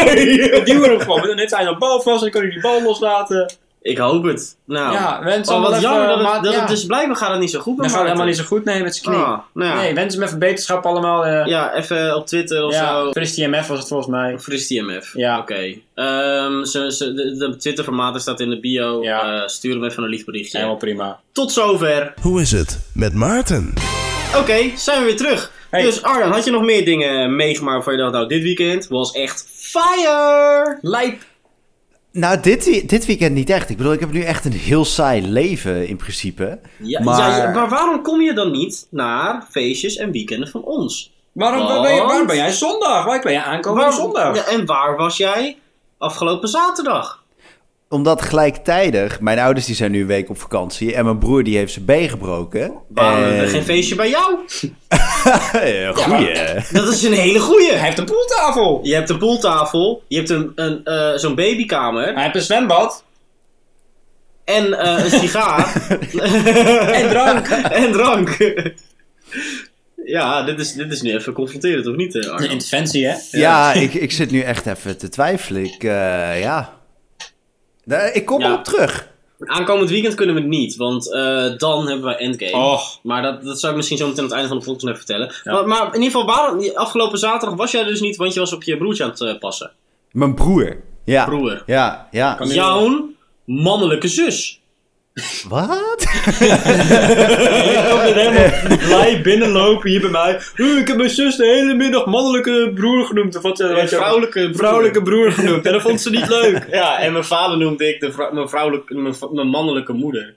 Dan duwen we hem gewoon. Dan heeft hij een bal vast en dan kan hij die bal loslaten. Ik hoop het. Nou, Ja, wens oh, hem wel wat even, jammer dat, het, maar- dat ja. het dus blijkbaar gaat het niet zo goed met Dan gaat het helemaal Maarten. niet zo goed, nee, met zijn knie. Ah, nou ja. Nee, wens hem even beterschap allemaal. eh. Ja, even op Twitter of ja, zo. Fris TMF was het volgens mij. Fris TMF. Ja. Oké. Ehm, ze- ze- de, de Twitter-formaten staat in de bio. Ja. Eh, stuur hem even een lief berichtje. Helemaal prima. Tot zover. Hoe is het met Maarten? Oké, zijn we weer terug. Hey. Dus Arjan, had je nog meer dingen meegemaakt waarvan je dacht, nou, dit weekend was echt fire! Lijp. Nou, dit, we- dit weekend niet echt. Ik bedoel, ik heb nu echt een heel saai leven in principe. Ja, maar... ja, ja, maar waarom kom je dan niet naar feestjes en weekenden van ons? Waarom, waar, ben je, waar ben jij zondag? Waar ben jij aankomen Waarom- zondag? Ja, en waar was jij afgelopen zaterdag? Omdat gelijktijdig, mijn ouders die zijn nu een week op vakantie en mijn broer die heeft zijn been gebroken. Waarom hebben en... we geen feestje bij jou? Eh, Goeie. Dat is een hele goeie! Hij heeft een poeltafel. Je hebt een poeltafel, je hebt een, een, eh, zo'n babykamer Hij heeft een zwembad. en eh, een sigaar En drank. en drank. ja, dit is, dit is nu even confronterend, of niet, eh, Een Arjan? interventie, hè? Ja, ik, ik zit nu echt even te twijfelen. Ik, eh, ja. Nou, ik kom Ja. erop terug. Aankomend weekend kunnen we het niet, want eh, dan hebben wij Endgame. Och. Maar dat, dat zou ik misschien zo meteen aan het einde van de podcast nog even vertellen. Maar, maar in ieder geval, waarom, afgelopen zaterdag was jij er dus niet, want je was op je broertje aan het eh, passen. Mijn broer. Ja. Broer. Ja, ja. Nee. Jouw mannelijke zus. Wat? blij binnenlopen hier bij mij. Uh, ik heb mijn zus de hele middag mannelijke broer genoemd. Of wat, eh, wat je- broer. vrouwelijke broer genoemd. En dat vond ze niet leuk. Ja, en mijn vader noemde ik de vrou- mijn, vrouwelijke, mijn, v- mijn mannelijke moeder.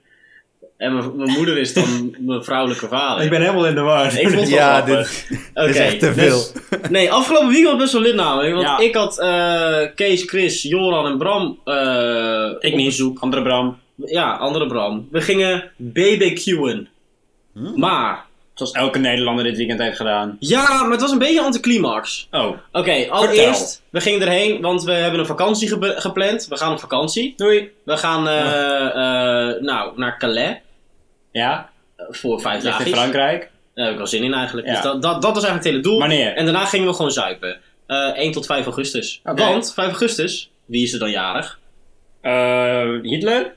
En mijn, mijn moeder is dan mijn vrouwelijke vader. Ik ben helemaal in de war. Ik vond het wel Ja, grappig. dit Oké, is echt te veel. dus- nee, afgelopen weekend was best wel lid namelijk. Want Ja. ik had eh, Kees, Chris, Joran en Bram eh Ik op niet. bezoek. Andere Bram. Ja, andere Bram. We gingen BBQ'en. Maar, Zoals elke Nederlander dit weekend heeft gedaan. ja, maar het was een beetje anticlimax. Oh. Oké, allereerst, we gingen erheen, want we hebben een vakantie gebe- gepland. We gaan op vakantie. Doei. We gaan eh, eh, nou, naar Calais Ja, voor vijf ligt dagen. in Frankrijk. Daar heb ik wel zin in eigenlijk. Ja. Dus dat, dat, dat was eigenlijk het hele doel. Wanneer? En daarna gingen we gewoon zuipen. Eh 1 tot 5 augustus. Oké. Want 5 augustus, wie is er dan jarig? Eh, Hitler?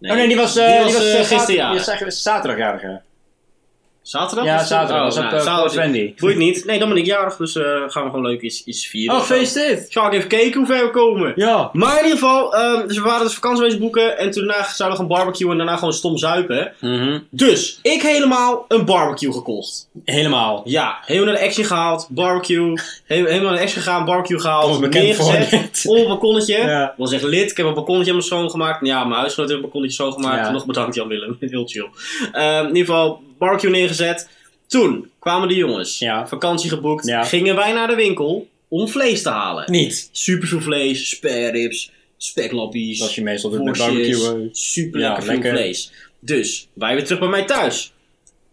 Oh nee, die was, eh, die was, eh, eh, gisteren zater- jarig. die was zaterdagjarige. Zaterdag? Ja, was het? zaterdag. Was op, eh, zaterdag. Coach Wendy. Boeit niet. Nee, dan ben ik jarig, dus eh, gaan we gewoon leuk iets, iets vieren. Oh, of zo. feest dit! Ga ik even kijken hoe ver we komen. Ja. Maar in ieder geval, ehm, dus we waren dus vakantiewezen boeken en toen daarna zouden we gaan barbecuen en daarna gewoon stom zuipen. Mhm. Dus ik helemaal een barbecue gekocht. Helemaal. Ja, helemaal naar de action gehaald, barbecue. he- Helemaal naar de action gegaan, barbecue gehaald. Komt bekend neergezet, voor dit. Op een balkonnetje. Ja. Was echt lit. Ik heb een balkonnetje helemaal schoongemaakt. Ja, mijn huisgenoot heeft een balkonnetje schoongemaakt. Ja. Nog bedankt Jan Willem. Heel chill. Ehm, in ieder geval, barbecue neergezet. Toen kwamen de jongens. Ja. Vakantie geboekt. Ja. Gingen wij naar de winkel om vlees te halen Niet. supervlees, spare ribs, speklappies. Zoals je meestal doet met worstjes, barbecue. eh. Super Ja, lekker veel lekker. vlees. Dus, wij weer terug bij mij thuis.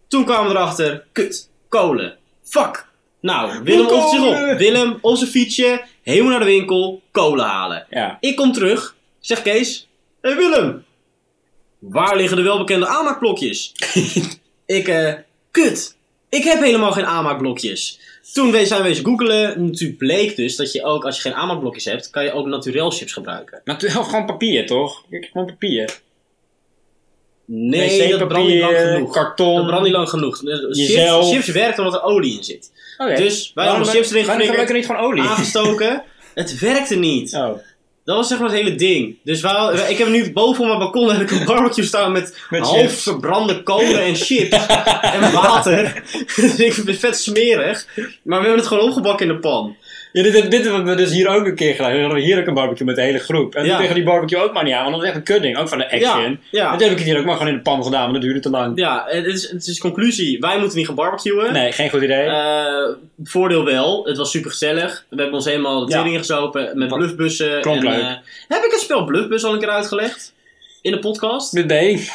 Toen kwamen we erachter, kut, kolen, fuck. Nou, Willem Hoe op zich kolen? op. Willem op zijn fietsje, helemaal naar de winkel, kolen halen. Ja. Ik kom terug, zeg Kees, hé hey Willem, waar liggen de welbekende aanmaakblokjes? ik, eh, kut, ik heb helemaal geen aanmaakblokjes. Toen we- zijn we eens googelen, toen bleek dus dat je ook, als je geen aanmaakblokjes hebt, kan je ook naturel chips gebruiken. Natuurlijk gewoon papier, toch? Ik heb gewoon papier. Nee, Wc-papier, dat brandt niet lang genoeg. karton. Dat brandt niet lang genoeg. Dus, eh, Chips, Jezelf. chips werkt omdat er olie in zit. Oké. Dus wij allemaal Oh, Waarom- chips erin Ah, Waarom geflikkerd, gebruiken niet gewoon olie? aangestoken. Het werkte niet. Oh. Dat was zeg maar het hele ding. Dus wij, wij- ik heb nu boven op mijn balkon heb ik een barbecue staan met, Met half chips. verbrande kolen en chips. en water. dus ik vind het vet smerig. Maar we hebben het gewoon opgebakken in de pan. Ja, dit, dit, dit hebben we dus hier ook een keer gedaan. We hadden hier ook een barbecue met de hele groep. En Ja. toen tegen die barbecue ook maar niet aan, want dat was echt een kudding. Ook van de action. Ja, ja. En toen heb ik het hier ook maar gewoon in de pan gedaan, want dat duurde te lang. Ja, het is, het is conclusie. Wij moeten niet gaan barbecuen. Nee, geen goed idee. Eh, voordeel wel, het was super gezellig. We hebben ons helemaal de Ja. teringen gezopen met Wat- bluffbussen. klonk en, leuk. eh, heb ik het spel bluffbus al een keer uitgelegd? In de podcast? Dit deed.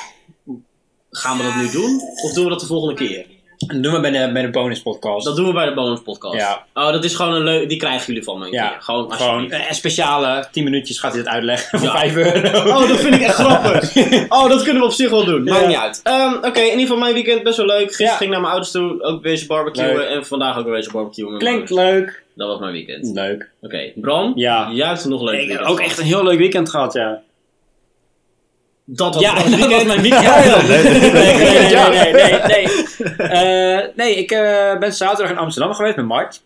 Gaan we dat nu doen? Of doen we dat de volgende keer? Een nummer bij de, bij de bonuspodcast. Dat doen we bij de bonus podcast. Ja. Oh, dat is gewoon een leuk... Die krijgen jullie van me een ja, keer. Gewoon, gewoon alsjeblieft. eh, speciale 10 minuutjes gaat hij het uitleggen voor Ja. 5 euro. Oh, dat vind ik echt grappig. Oh, dat kunnen we op zich wel doen. Maakt Ja. niet uit. Ehm, Oké, in ieder geval mijn weekend best wel leuk. Gisteren Ja. ging ik naar mijn ouders toe, ook weer eens barbecuen. Leuk. En vandaag ook weer eens barbecuen met mijn Klinkt ouders. leuk. Dat was mijn weekend. Oké, Leuk. Bram? Ja. Juist nog leuk. Ik heb weekend. ook echt een heel leuk weekend gehad, ja. Dat was ja, nou, mijn dat was weekend. mijn weekend. nee, nee, nee, Ja. nee, nee, nee. Eh, nee, ik eh, ben zaterdag in Amsterdam geweest met Mart.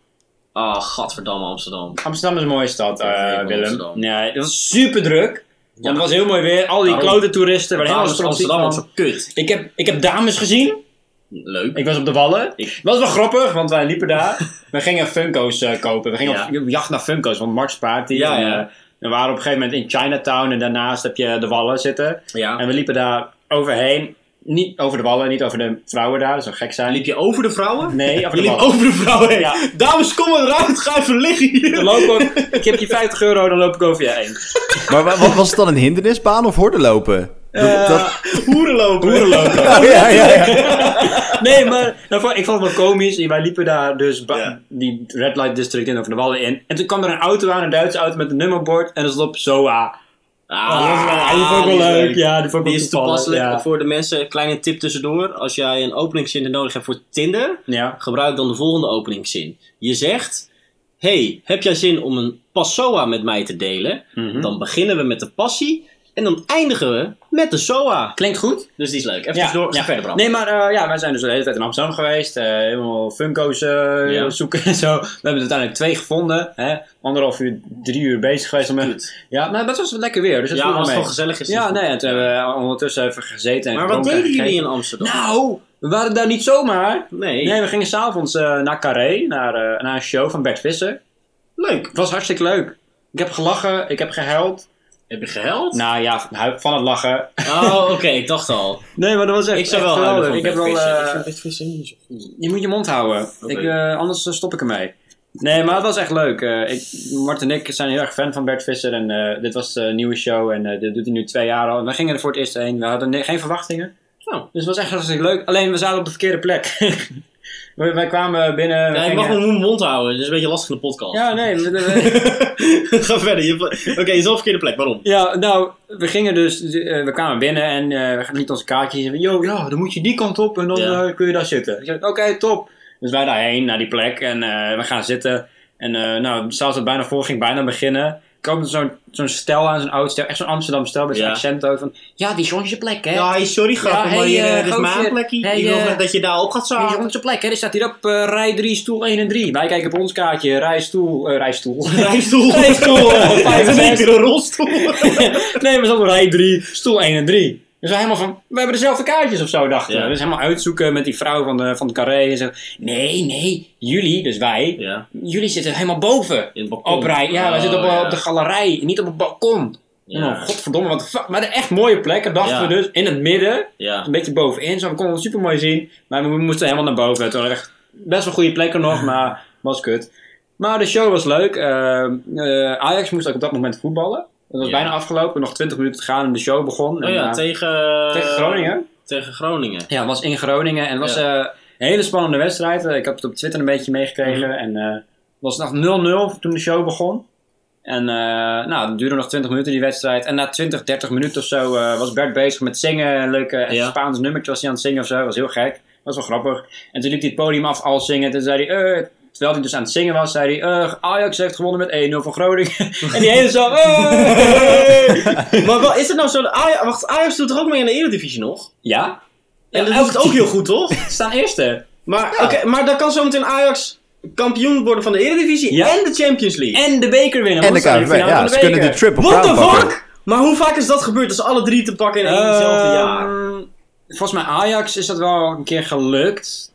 Ah, gadverdamme Amsterdam. Amsterdam is een mooie stad, eh, Ja, ik ben Willem. Amsterdam. Nee, het was super druk. Want het was heel mooi weer. Al die Daarom. klote toeristen. Waar Waarom helemaal is stront ziek Amsterdam ook van. zo kut? Ik heb, ik heb dames gezien. Leuk. Ik was op de Wallen. Ik- was wel grappig, want wij liepen daar. we gingen Funko's eh, kopen. We gingen Ja. op, op jacht naar Funko's, want March Party. Ja, en, ja. eh, we waren op een gegeven moment in Chinatown en daarnaast heb je de Wallen zitten. Ja. En we liepen daar overheen. Niet over de Wallen, niet over de vrouwen daar. Dat zou gek zijn. Liep je over de vrouwen? Nee, over Je de liep Wallen. over de vrouwen heen. Ja. Dames, kom eruit. Ga even liggen Dan hier. loop ik, ook- ik heb je 50 euro, dan loop ik over je heen. Maar wa- wat was het dan, een hindernisbaan of horden lopen? Dat- dat- Hoeren lopen. Hoeren lopen. ja, ja, ja, ja. Nee, maar nou, vo- ik vond het wel komisch. Wij liepen daar dus ba- Ja. die Red Light District in over de wallen in. En toen kwam er een auto aan, een Duitse auto met een nummerbord. En er stond op ZOA. Ah, die vond ik wel leuk. Ja, die vond ik Die wel is toepasselijk ja. voor de mensen. Kleine tip tussendoor. Als jij een openingszin nodig hebt voor Tinder, Ja. gebruik dan de volgende openingszin. Je zegt, hey, heb jij zin om een passoa met mij te delen? Dan beginnen we met de passie en dan eindigen we met de soa. Klinkt goed? Dus die is leuk. Even door, verder Bram. Nee, maar eh, ja, wij zijn dus de hele tijd in Amsterdam geweest. eh, helemaal Funko's eh, Ja. zoeken en zo. We hebben er uiteindelijk twee gevonden. Hè? Anderhalf uur, drie uur bezig geweest. Om, Goed. ja, maar dat was wel lekker weer. Dus dat Ja, viel wel als het mee. wel gezellig is, is Ja, het nee, goed. en toen hebben we ondertussen even gezeten en maar wat gedronken en deden jullie gegeten. in Amsterdam? Nou, we waren daar niet zomaar. nee. Nou, Nee, we gingen s'avonds eh naar Carré, naar, eh, naar een show van Bert Visser. Leuk. Het was hartstikke leuk. Ik heb gelachen, ik heb gehuild. Heb je gehuild? Nou ja, van, hu- van het lachen. Oh, oké, ik dacht al. Nee, maar dat was echt Ik zou echt wel geweldig. houden van Ik heb wel... eh, je moet je mond houden. Oké. Ik, eh, anders eh, stop ik ermee. Nee, maar het was echt leuk. Eh ik, Mart en ik zijn heel erg fan van Bert Visser. En eh, dit was de nieuwe show. En eh, dit doet hij nu twee jaar al. En we gingen er voor het eerst heen. We hadden ne- geen verwachtingen. Nou. Dus het was echt hartstikke leuk. Alleen we zaten op de verkeerde plek. wij, wij kwamen binnen. eh, we Ja, ik gingen- mag mijn mond houden, dat is een beetje lastig in de podcast. Ja, nee. we- we- Ga verder. je hebt- Oké, je is wel verkeerde plek, waarom? ja, nou, we gingen dus, eh, we kwamen binnen en eh, we lieten onze kaartjes. En we, yo, ja, dan moet je die kant op en dan Ja. eh, kun je daar zitten. Ik zei, oké, top. Dus wij daarheen, naar die plek en eh, we gaan zitten. En eh nou, zelfs het bijna voor ging bijna beginnen. Komt er zo'n zo'n stel aan, zo'n oud stel, echt zo'n Amsterdam stel met zo'n Ja. accent ook. Van, ja, die is onze plek, hè? Ja, hey, sorry grap, Ja, hey, maar hier, eh, eh, dit is gozer. mijn plekje. Hey, ik wil eh, graag dat je daar op gaat Dit is zagen. onze plek, hè? Er staat hier op eh, rij 3, stoel 1 en 3. Wij kijken op ons kaartje, rij stoel, eh, rij stoel. Rijstoel. Rijstoel, eh, vijf en En zes. ik een rolstoel. nee, we zaten op rij 3, stoel 1 en 3. Dus wij helemaal van, we hebben dezelfde kaartjes of zo, dachten Ja. we. Dus helemaal uitzoeken met die vrouw van, de, van het carré. En zo, nee, nee, jullie, dus wij, Ja, jullie zitten helemaal boven. in het balkon. Op rij, ja, wij Oh, zitten op, eh, ja. op de galerij, niet op het balkon. Ja. Oh, godverdomme, wat de fuck. Maar de echt mooie plekken, dachten Ja. we dus, in het midden. Ja. Een beetje bovenin, zo we konden het super mooi zien. Maar we moesten helemaal naar boven. Het waren echt best wel goede plekken nog, maar was kut. Maar de show was leuk. Eh, eh, Ajax moest ook op dat moment voetballen. Dat was Ja. bijna afgelopen, nog 20 minuten te gaan en de show begon. Oh En, ja, eh, tegen... tegen Groningen. Tegen Groningen. Ja, het was in Groningen en het was eh, een hele spannende wedstrijd. Eh, ik heb het op Twitter een beetje meegekregen. Mhm. En eh, het was nog 0-0 toen de show begon. En eh, nou, het duurde nog 20 minuten die wedstrijd. En na 20, 30 minuten of zo eh, was Bert bezig met zingen. Een leuke eh, Ja. Spaans nummertje was hij aan het zingen of zo. was heel gek. was wel grappig. En toen liep hij het podium af al zingen. En toen zei hij... eh, Terwijl hij dus aan het zingen was, zei hij: eh, Ajax heeft gewonnen met 1-0 van Groningen. en die hele zaal. eh. maar wel, is het nou zo... Aj- wacht, Ajax doet er ook mee in de Eredivisie nog? ja, En dat elke doet het ook heel goed, toch? staan eerste. Maar, oké, maar dan kan zometeen Ajax kampioen worden van de Eredivisie Ja. en de Champions League. En de beker winnen. En want de ze zijn in KNVB, finale ja, van ze kunnen de beker. triple What crown the pakken. fuck? Maar hoe vaak is dat gebeurd? Dat ze alle drie te pakken in één Eh, hetzelfde jaar. Ehm, Volgens mij Ajax is dat wel een keer gelukt.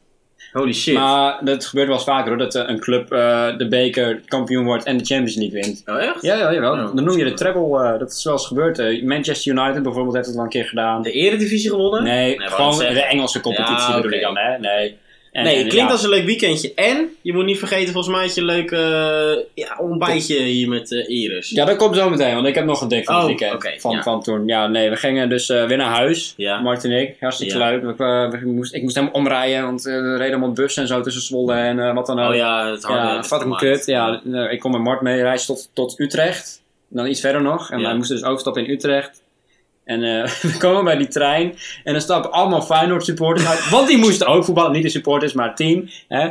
Holy shit. Maar dat gebeurt wel eens vaker hoor. Dat eh, een club eh, de beker kampioen wordt en de Champions League wint. oh, echt? Ja, ja, jawel. Ja, Dan noem je de treble. eh, dat is wel eens gebeurd. eh. Manchester United bijvoorbeeld heeft dat wel een keer gedaan. De Eredivisie gewonnen? Nee, Nee, wou ik gewoon zeggen. de Engelse competitie Ja, bedoel ik oké. dan hè. Nee. En- nee, en het klinkt ja, als een leuk weekendje. En je moet niet vergeten, volgens mij had je een leuk eh, ja, ontbijtje hier met eh, Iris. Ja, dat komt zo meteen, want ik heb nog een dik van het Oh, weekend. oké, van, ja. van toen. Ja, nee, we gingen dus eh, weer naar huis. Ja. Mart en ik. Hartstikke Ja. leuk. We, we- we moest, ik moest helemaal omrijden, want eh, er reden allemaal bussen en zo tussen Zwolle en eh, wat dan ook. Oh ja, het harde. Ja, fucking kut. Ja, nou, ik kom met Mart mee, reis tot, tot Utrecht. Dan iets verder nog. En Ja. wij moesten dus overstappen in Utrecht. En eh, we komen bij die trein. En dan stappen allemaal Feyenoord supporters uit. Want die moesten ook voetballen. Niet de supporters, maar het team. Hè?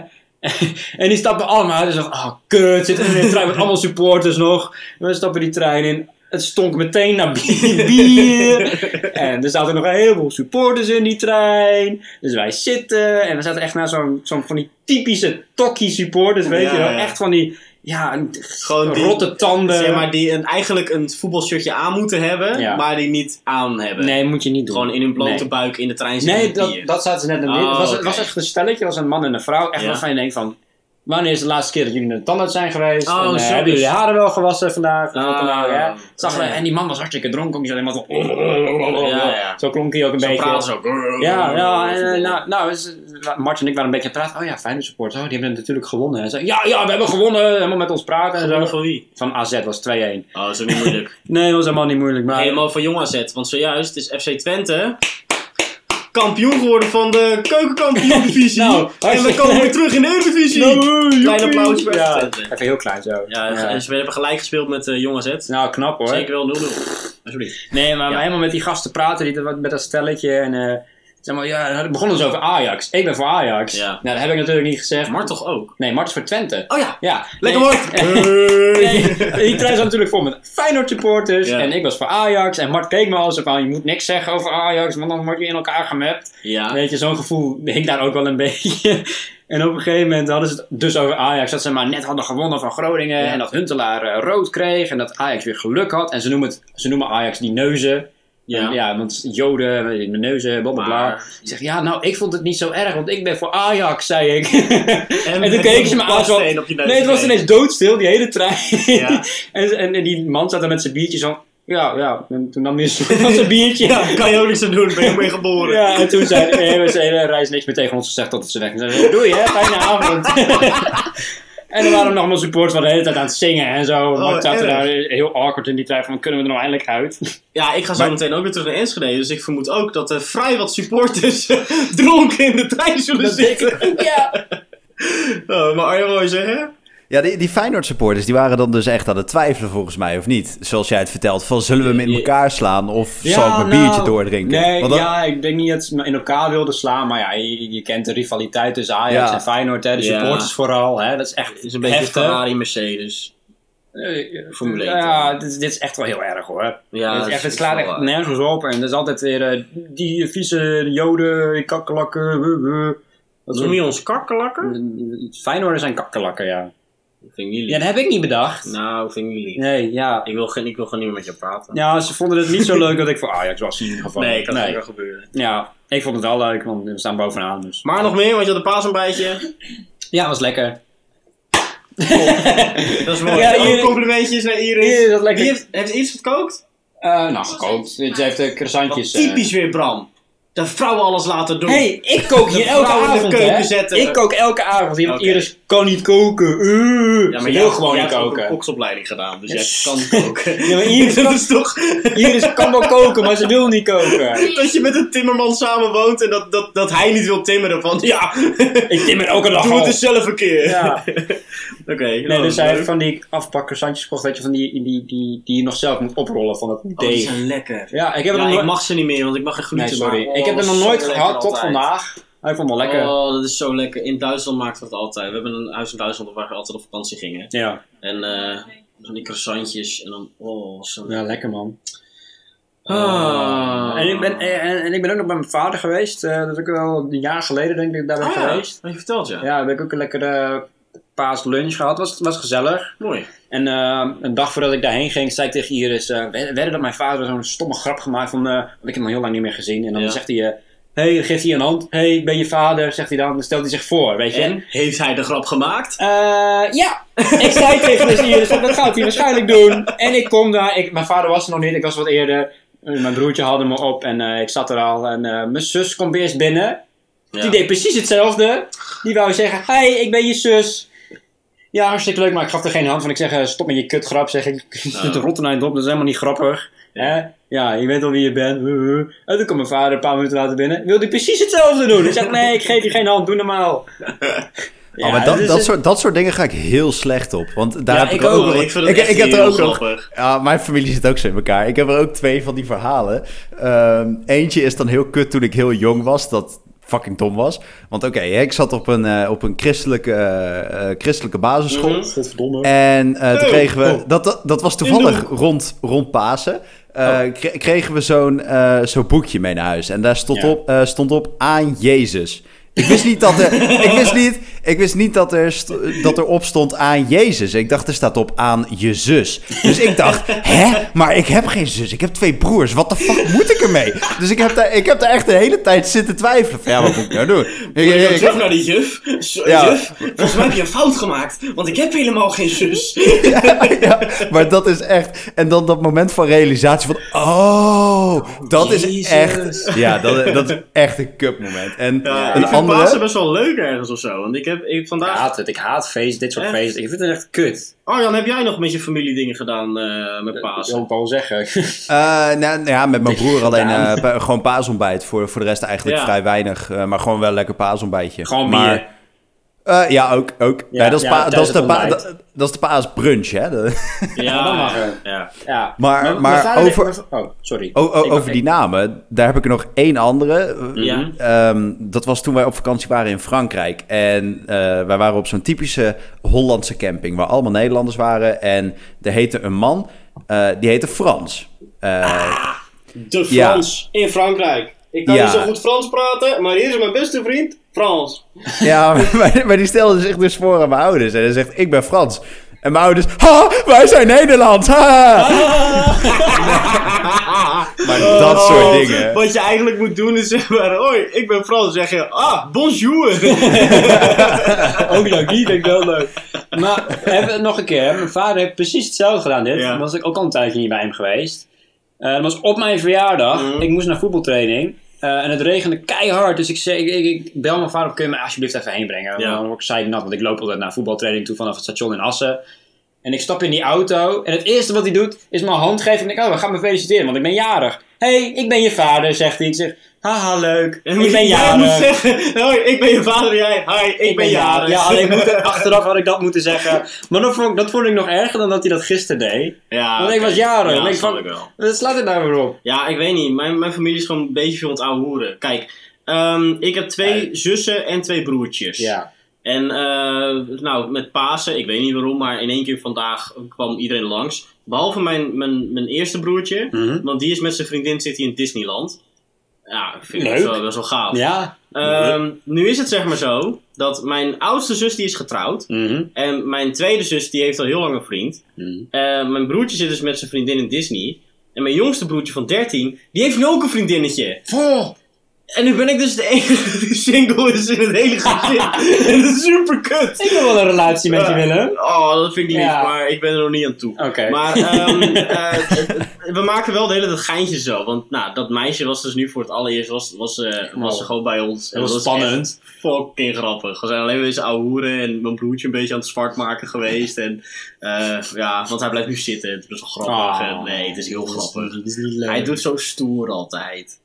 en die stappen allemaal uit. En zeggen, oh kut, zitten we in een trein met allemaal supporters nog. En we stappen die trein in. Het stonk meteen naar bier. bier. en er zaten nog een heleboel supporters in die trein. Dus wij zitten. En we zaten echt naar zo'n zo'n van die typische tokkie supporters. Weet Ja, je wel. ja. Echt van die ja, Gewoon die- rotte tanden. Zeg maar, die een, eigenlijk een voetbalshirtje aan moeten hebben, Ja. maar die niet aan hebben. Nee, moet je niet doen. Gewoon in hun blote Nee. buik in de trein zitten. Nee, met dat, bier. dat zaten ze net in. Oh, het, was, het oké. was echt een stelletje, het was een man en een vrouw. Echt Ja. waarvan je denkt van... Wanneer is de laatste keer dat jullie naar de tandarts zijn geweest? Oh, en, eh, zo hebben dus. jullie haren wel gewassen vandaag? Of wat dan Ah, ook, hè? oké. Zag je- en die man was hartstikke dronken. ook. Die zat helemaal zo... Ja, ja. Oh, Zo klonk hij ook een Zo beetje. praten ze ook. Ja, ja en, eh, nou, nou is, Mart en ik waren een beetje aan het praten. Oh ja, fijne support. Oh, die hebben natuurlijk gewonnen. En zei, ja, ja, we hebben gewonnen. Helemaal met ons praten. En Gewonnen zo. van wie? Van AZ was 2-1. Nee, Oh, dat is ook niet moeilijk. dat was helemaal niet moeilijk. Maar Helemaal van jong AZ, want zojuist is FC Twente kampioen geworden van de keukenkampioen-divisie. Nou, en we hartstikke komen weer leuk. Nou, terug in de Eredivisie. Klein applaus voor FC ja, Twente. Even heel klein zo. Ja, en ze hebben gelijk gespeeld met eh jong AZ. Nou, knap hoor. Zeker wel 0-0. Alsjeblieft. Nee, maar Ja. helemaal met die gasten praten, die, met dat stelletje. En, eh, zeg maar, ja, het begon dus over Ajax. Ik ben voor Ajax. Ja. Nou, dat heb ik natuurlijk niet gezegd. Maar toch ook. Nee, Mart is voor Twente. Oh ja, Ja. lekker nee. woord. Nee, die trein zat natuurlijk vol met Feyenoord supporters. Ja. En ik was voor Ajax. En Mart keek me al zo van, je moet niks zeggen over Ajax, want dan word je in elkaar gemapt. Ja. Weet je, zo'n gevoel hing daar ook wel een beetje. En op een gegeven moment hadden ze het dus over Ajax. Dat ze maar net hadden gewonnen van Groningen. Ja. En dat Huntelaar eh, rood kreeg. En dat Ajax weer geluk had. En ze noemen, het, ze noemen Ajax die neuzen. Ja. Ja. want joden, weet ik, mijn neuzen, blablabla. Bla, bla. Maar- Ik zeg, ja, nou, ik vond het niet zo erg, want ik ben voor Ajax, zei ik. en, met toen keek ze me een aan zo... baksteen op je neus Nee, het was gekregen. ineens doodstil, die hele trein. Ja. en, en, en die man zat daar met zijn biertje zo... Ja, ja, en toen nam hij een van zijn biertje. ja. Kan je ook niks aan doen, ben je ook mee geboren. en toen zei hij, nee, ze hele reis niks meer tegen ons gezegd totdat ze weg zijn. Doei, hè, fijne avond. en er waren nog mijn supporters van de hele tijd aan het zingen en zo. maar ik zat er Oh, erg. daar heel awkward in die trein van, kunnen we er nou eindelijk uit? Ja, ik ga zo meteen ook weer terug naar Enschede. Dus ik vermoed ook dat er vrij wat supporters dronken in de trein zullen zitten. ja. Oh, maar Arjen, wat wil je zeggen? Ja, die, die Feyenoord supporters die waren dan dus echt aan het twijfelen volgens mij, of niet? Zoals jij het vertelt, van zullen we hem in Ja. elkaar slaan of Ja, zal ik mijn nou, biertje doordrinken? Nee, Want dat- ja, ik denk niet dat ze me in elkaar wilden slaan. Maar ja, je, je kent de rivaliteit tussen Ajax Ja. en Feyenoord. Hè, de Ja. supporters vooral. Hè, dat is echt is een beetje heftig. Ferrari, Mercedes. Eh, Formule één, ja, dit, dit is echt wel heel erg hoor. Ja, dit dat is is- echt, het is slaat wel echt waar. nergens op. En er is altijd weer eh, die vieze joden, die kakkelakken. wuh, wuh. Dat Noem soort- je ons kakkelakker? Feyenoorders zijn kakkelakken, ja. Vind jullie? Ja, dat heb ik niet bedacht. Nou, vind jullie? Nee, ja. Ik wil, geen, ik wil gewoon niet meer met je praten. Ja, ze vonden het niet zo leuk dat ik voor Ajax was in ieder geval. Nee, kan nee. gebeuren. Ja, ik vond het wel leuk, want we staan bovenaan. Dus. Maar nog meer, want je had een paasontbijtje. Ja, was lekker. Dat is mooi. Ja, Ja, hier- complimentjes naar Iris. Iris, dat lekker. Wie heeft, heeft Iris gekookt? Eh, nou, gekookt. Ze heeft de Nou, Wat croissantjes. eh. typisch weer Bram. De vrouwen alles laten doen. hey, ik kook hier De elke vrouw in de avond, keuken hè? zetten. Ik kook elke avond hier, want Oké. Iris kan niet koken. Uh. Ja, Ze maar wil jij- gewoon jij niet hebt ook koken. een koksopleiding gedaan, dus Yes. jij kan koken. Ja, maar Iris dat kan- is toch... Iris kan wel koken, maar ze wil niet koken. dat je met een timmerman samen woont en dat, dat, dat hij niet wil timmeren van... Ja, Ik timmer elke dag doe al. het dus zelf een keer. Ja. Oké. Nee, nou, dus leuk. hij heeft van die afpak croissantjes gekocht, weet je, van die, die, die, die je nog zelf moet oprollen van dat Oh, die deeg. zijn lekker. Ja, ik heb het Ja, nog ik nooit... mag ze niet meer, want ik mag geen gluten Nee, sorry. maken. Oh, ik heb het dat nog is nooit zo gehad lekker tot altijd. vandaag. Hij vond het wel lekker. Oh, dat is zo lekker. In Duitsland maakten we het altijd. We hebben een huis in Duitsland waar we altijd op vakantie gingen. Ja. En eh, van die croissantjes en dan... Oh, zo ja, lekker man. Ah. En ik, ben, en, en ik ben ook nog bij mijn vader geweest. eh, dat is ook wel een jaar geleden denk ik dat ik daar ben Ah, ja. geweest. Heb je verteld, ja. Ja, daar heb ik ook een lekkere paaslunch gehad. Was, was gezellig. Mooi. En eh, een dag voordat ik daarheen ging, zei ik tegen Iris... eh werden dat mijn vader zo'n stomme grap gemaakt van... eh, want ik heb hem al heel lang niet meer gezien. En dan Ja. zegt hij... eh, hey, geeft hij een hand. Hé, hey, ik ben je vader, zegt hij dan. Dan stelt hij zich voor, weet je. En? Heeft hij de grap gemaakt? Eh, ja, ik zei tegen dus Iris, dat gaat hij waarschijnlijk doen. En ik kom daar, ik, mijn vader was er nog niet, ik was wat eerder. Eh, Mijn broertje haalde me op en eh, ik zat er al. En eh, mijn zus komt eerst binnen. Die deed precies hetzelfde. Die wou zeggen, hey, ik ben je zus. Ja, hartstikke leuk, maar ik gaf er geen hand van. Ik zeg, eh, stop met je kutgrap, zeg ik. Je zit te rotten naar je dop, dat is helemaal niet grappig. Hè? Ja, je weet al wie je bent. Huh, huh. En toen kwam mijn vader een paar minuten later binnen. Wil hij precies hetzelfde doen? Ik zeg, nee, ik geef je geen hand, doe normaal. Ja, oh, maar dat, dus dat, het- soort, dat soort dingen ga ik heel slecht op. Want daar Ja, heb ik, ik ook ook. nog- Ik vind het echt heb er heel ook nog- grappig. Ja, mijn familie zit ook zo in elkaar. Ik heb er ook twee van die verhalen. Ehm, eentje is dan heel kut toen ik heel jong was. Dat fucking dom was. Want oké, hè, ik zat op een, eh, op een christelijke, eh, eh, christelijke basisschool. Mhm. Godverdomme. En eh, toen Oh, kregen we, oh. dat, dat, dat was toevallig rond, rond Pasen, eh, Oh. kre- kregen we zo'n eh, zo'n boekje mee naar huis. En daar stond, Ja. op, eh, stond op aan Jezus. Ik wist niet dat er, ik wist niet, ik wist niet dat, er st- dat er op stond aan Jezus. Ik dacht er staat op aan je zus. Dus ik dacht, hè? Maar ik heb geen zus. Ik heb twee broers. Wat de fuck moet ik ermee? Dus ik heb daar, ik heb daar echt de hele tijd zitten twijfelen. Van, ja, wat moet ik nou doen? Ik- Ik ik- ga ik- terug naar die juf. Zo, Ja. Juf, volgens mij heb je een fout gemaakt, want ik heb helemaal geen zus. ja, maar dat is echt. En dan dat moment van realisatie van. Oh, dat is Jezus. echt. Ja, dat, dat is echt een cup moment. En Ja, een ik vind Pasen andere. best wel leuk ergens of zo. Want ik heb ik Ik vandaag... haat het, ik haat feest, dit soort Echt? feesten. Ik vind het echt kut. Arjan, heb jij nog met je familie dingen gedaan eh, met Dat Pasen? wil ik wel zeggen. eh nou, nou ja, met mijn broer alleen gedaan. eh, pa- gewoon paasontbijt. Voor, voor de rest eigenlijk Ja. vrij weinig. eh, maar gewoon wel lekker paasontbijtje. Gewoon maar, bier. eh, ja, ook. ook. Ja, Nee, dat, is ja, pa- dat, tijdens is de het pa- ontbijt. dat, dat is de paasbrunch, hè? De- Ja, dat mag ja, er. ja. Ja. Maar- Mijn- maar mijn vader- over- mijn- Oh, sorry. O- o- Ik- over die namen, daar heb ik er nog één andere. Ja. Ehm, dat was toen wij op vakantie waren in Frankrijk. En eh, wij waren op zo'n typische Hollandse camping, waar allemaal Nederlanders waren. En er heette een man, eh, die heette Frans. Eh, De Ja. Frans in Frankrijk. Ik kan Ja. niet zo goed Frans praten, maar hier is mijn beste vriend, Frans. Ja, maar, maar die stelde zich dus voor aan mijn ouders. En hij zegt, ik ben Frans. En mijn ouders, ha, wij zijn Nederlands. Ha. maar dat soort dingen. Oh, Wat je eigenlijk moet doen is zeggen maar, hoi, ik ben Frans. Zeg je, ah, bonjour. Ook leuk, die vind ik wel leuk. Maar even nog een keer. hè. Mijn vader heeft precies hetzelfde gedaan dit. Ja. Dan was ik ook al een tijdje niet bij hem geweest. Eh, dat was op mijn verjaardag. Ik moest naar voetbaltraining. Eh, en het regende keihard. Dus ik, zei, ik, ik, ik bel mijn vader op. Kun je me alsjeblieft even heen brengen? Ja. Dan word ik zeiknat. Want ik loop altijd naar voetbaltraining toe vanaf het station in Assen. En ik stap in die auto. En het eerste wat hij doet is mijn hand geven. En ik denk, oh, we gaan me feliciteren. Want ik ben jarig. Hé, hey, ik ben je vader, zegt hij. Ik zeg, haha, leuk. Ik ben Jij jarig. moet zeggen, hoi, ik ben je vader en jij, hi, ik, ben jarig. Ja, alleen moet, achteraf had ik dat moeten zeggen. Maar dat vond, ik- dat vond ik nog erger dan dat hij dat gisteren deed. Ja, Want ik oké. was jaren. Ja, en ik snap van, ik wel. Wat slaat het nou weer op? Ja, ik weet niet. Mijn, mijn familie is gewoon een beetje veel aan het ouwe hoeren. Kijk, ehm, ik heb twee zussen en twee broertjes. Ja. En eh, nou, met Pasen, ik weet niet waarom, maar in één keer vandaag kwam iedereen langs. Behalve mijn, mijn, mijn eerste broertje, Mhm. want die is met zijn vriendin zit hij in Disneyland. Ja, ik vind Leuk. dat wel, best wel gaaf. Ja. Ehm, nu is het zeg maar zo, dat mijn oudste zus die is getrouwd. Mhm. En mijn tweede zus die heeft al heel lang een vriend. Mhm. Eh, mijn broertje zit dus met zijn vriendin in Disney. En mijn jongste broertje van 13, die heeft nu ook een vriendinnetje. En nu ben ik dus de enige die single is in het hele gezin. en dat is super kut. Ik wil wel een relatie met je Ja. Willem. Oh, dat vind ik niet, Ja. maar ik ben er nog niet aan toe. Oké. Maar ehm, eh, we maken wel de hele tijd geintjes zo. Want nou, dat meisje was dus nu voor het allereerst was, was, eh, was ze Oh. gewoon bij ons. En was echt spannend. Fucking grappig. We zijn alleen maar eens ouwe hoeren en mijn broertje een beetje aan het zwart maken geweest. En, eh, ja, want hij blijft nu zitten. Het is best wel grappig. Ah. En nee, het is heel grappig. Dat is niet leuk. Hij doet zo stoer altijd.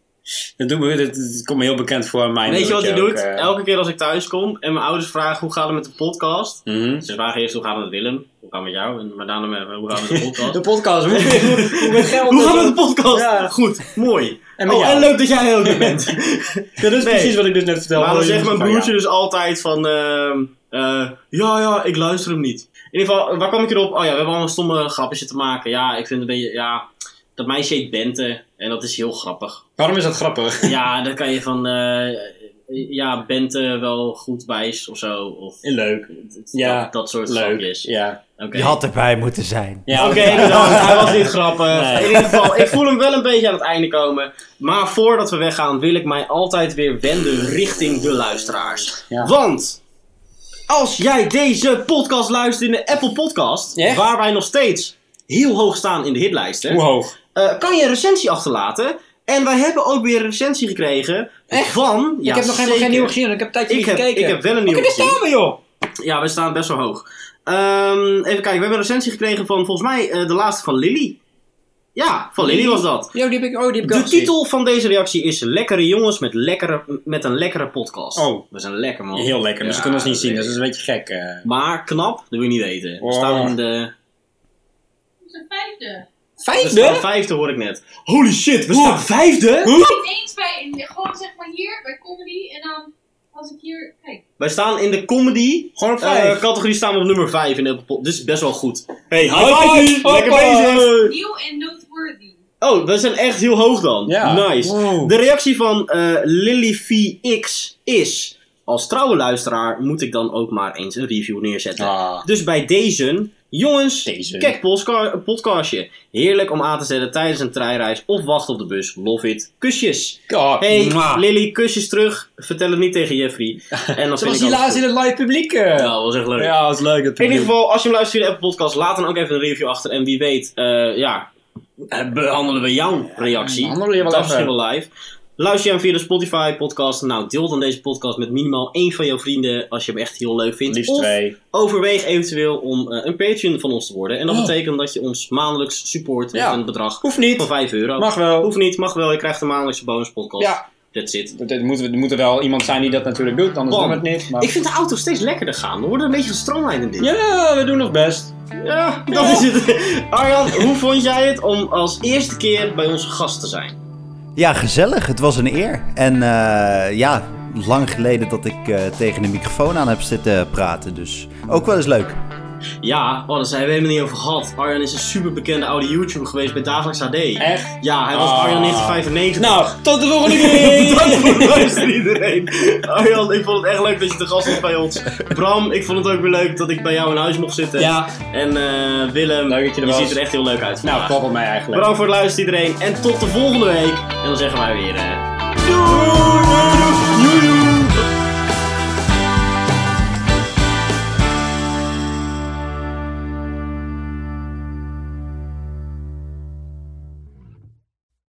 Dat, doet me, dat, dat komt me heel bekend voor. Mijn Weet je wat hij broertje doet? ook, eh. Elke keer als ik thuis kom en mijn ouders vragen hoe gaat het met de podcast. Mhm. Ze vragen eerst hoe gaat het met Willem, hoe gaat het met jou, en, maar daarna met, hoe gaat het met de podcast. De podcast. Hoe, hoe, hoe met geld. hoe gaat het met de podcast? Ja. Goed, mooi. En met oh, jou. en leuk dat jij ook er bent. Dat is Nee. precies wat ik dus net vertelde. maar dan Oh, zegt mijn jongens, van, ja. broertje dus altijd van, ehm, eh, ja, ja, ik luister hem niet. In ieder geval, waar kwam ik erop? Oh ja, we hebben allemaal stomme grapjes te maken. Ja, ik vind een beetje, ja, dat meisje heet Bente en dat is heel grappig. Waarom is dat grappig? Ja, dan kan je van, eh, ja, Bente wel goed wijs of zo. Of, Leuk. Ja. ja, dat, dat soort Leuk. grapjes. Ja. Oké, Je had erbij moeten zijn. ja. Oké, inderdaad, hij was niet grappig. Nee. In ieder geval, ik voel hem wel een beetje aan het einde komen. Maar voordat we weggaan, wil ik mij altijd weer wenden richting de luisteraars. Ja. Want als jij deze podcast luistert in de Apple Podcast, Echt? waar wij nog steeds heel hoog staan in de hitlijsten, Hoe hoog? eh, kan je een recensie achterlaten. En wij hebben ook weer een recensie gekregen. Echt? Van, ja, ik heb nog helemaal zeker. geen nieuwe gezien. Ik heb een tijdje Ik niet heb, gekeken. ik heb wel een nieuwe Oké, dus daar gezien. staan we, joh. Ja, we staan best wel hoog. Ehm, even kijken, we hebben een recensie gekregen van volgens mij eh, de laatste van Lily. Ja, van Lily was dat. Yo, die heb ik, oh, die heb ik De ook gezien. titel van deze reactie is Lekkere jongens met, lekkere, met een lekkere podcast. Oh. we zijn lekker man. Heel lekker, dus Ja, we kunnen ons niet zien. dat Dus dat is een beetje gek. eh. Maar knap, dat wil je niet weten. We Oh. staan in de, is de vijfde. we staan Vijfde? vijfde hoor ik net. Holy shit, we staan vijfde? Niet eens bij, gewoon zeg maar hier, bij comedy. En dan, als ik hier, kijk. Wij staan in de comedy Gewoon op eh, vijf. categorie staan we op nummer 5 in de Apple Pod- Dus best wel goed. Hey, high five! Lekker bezig! Nieuw en noteworthy. Oh, we zijn echt heel hoog dan. Ja. Nice. Wow. De reactie van eh LilyVX is... Als trouwe luisteraar moet ik dan ook maar eens een review neerzetten. Ah. Dus bij deze... Jongens, Deze. kijk postka- podcastje. Heerlijk om aan te zetten tijdens een treinreis of wachten op de bus. Love it. Kusjes. Oh, Hey, mwah. Lily, kusjes terug. Vertel het niet tegen Jeffrey. En dan Ze vind was ik alles helaas goed. in het live publiek. eh. Ja, dat was echt leuk. Ja, dat is leuk. Dat In ieder geval, als je hem luistert via de Apple Podcast, laat dan ook even een review achter. En wie weet, eh, ja, eh, behandelen we jouw reactie. behandelen we je wel dat is even. misschien wel live. Luister je hem via de Spotify podcast. Nou, deel dan deze podcast met minimaal één van jouw vrienden als je hem echt heel leuk vindt. Liefst of twee. overweeg eventueel om eh, een Patreon van ons te worden. En dat Oh. betekent dat je ons maandelijks support Ja. met een bedrag Hoeft niet. van 5 euro. Mag wel. Hoeft niet, mag wel. Je krijgt een maandelijkse bonus podcast. Ja. That's it. Dat- dat moet, er moet er wel iemand zijn die dat natuurlijk doet, anders Bam. doen we het niet. Maar... Ik vind de auto steeds lekkerder gaan. We worden een beetje gestroomlijnd in dit. Ja, we doen ons best. Ja, dat is het. Arjan, hoe vond jij het om als eerste keer bij onze gast te zijn? Ja, gezellig. Het was een eer. En eh, ja, lang geleden dat ik eh, tegen de microfoon aan heb zitten praten. Dus ook wel eens leuk. Ja, oh, daar zijn we helemaal niet over gehad. Arjan is een superbekende oude YouTuber geweest bij Dagelijks AD. Echt? Ja, hij was Ah. Arjan 1995. Nou, tot de volgende keer! Bedankt voor het luisteren iedereen. Arjan, ik vond het echt leuk dat je te gast was bij ons. Bram, ik vond het ook weer leuk dat ik bij jou in huis mocht zitten. Ja, En eh, Willem, Leuk dat je er was. ziet er echt heel leuk uit. nou, vandaag. klap op mij eigenlijk. Bedankt voor het luisteren iedereen. En tot de volgende week. En dan zeggen wij weer... eh, doei!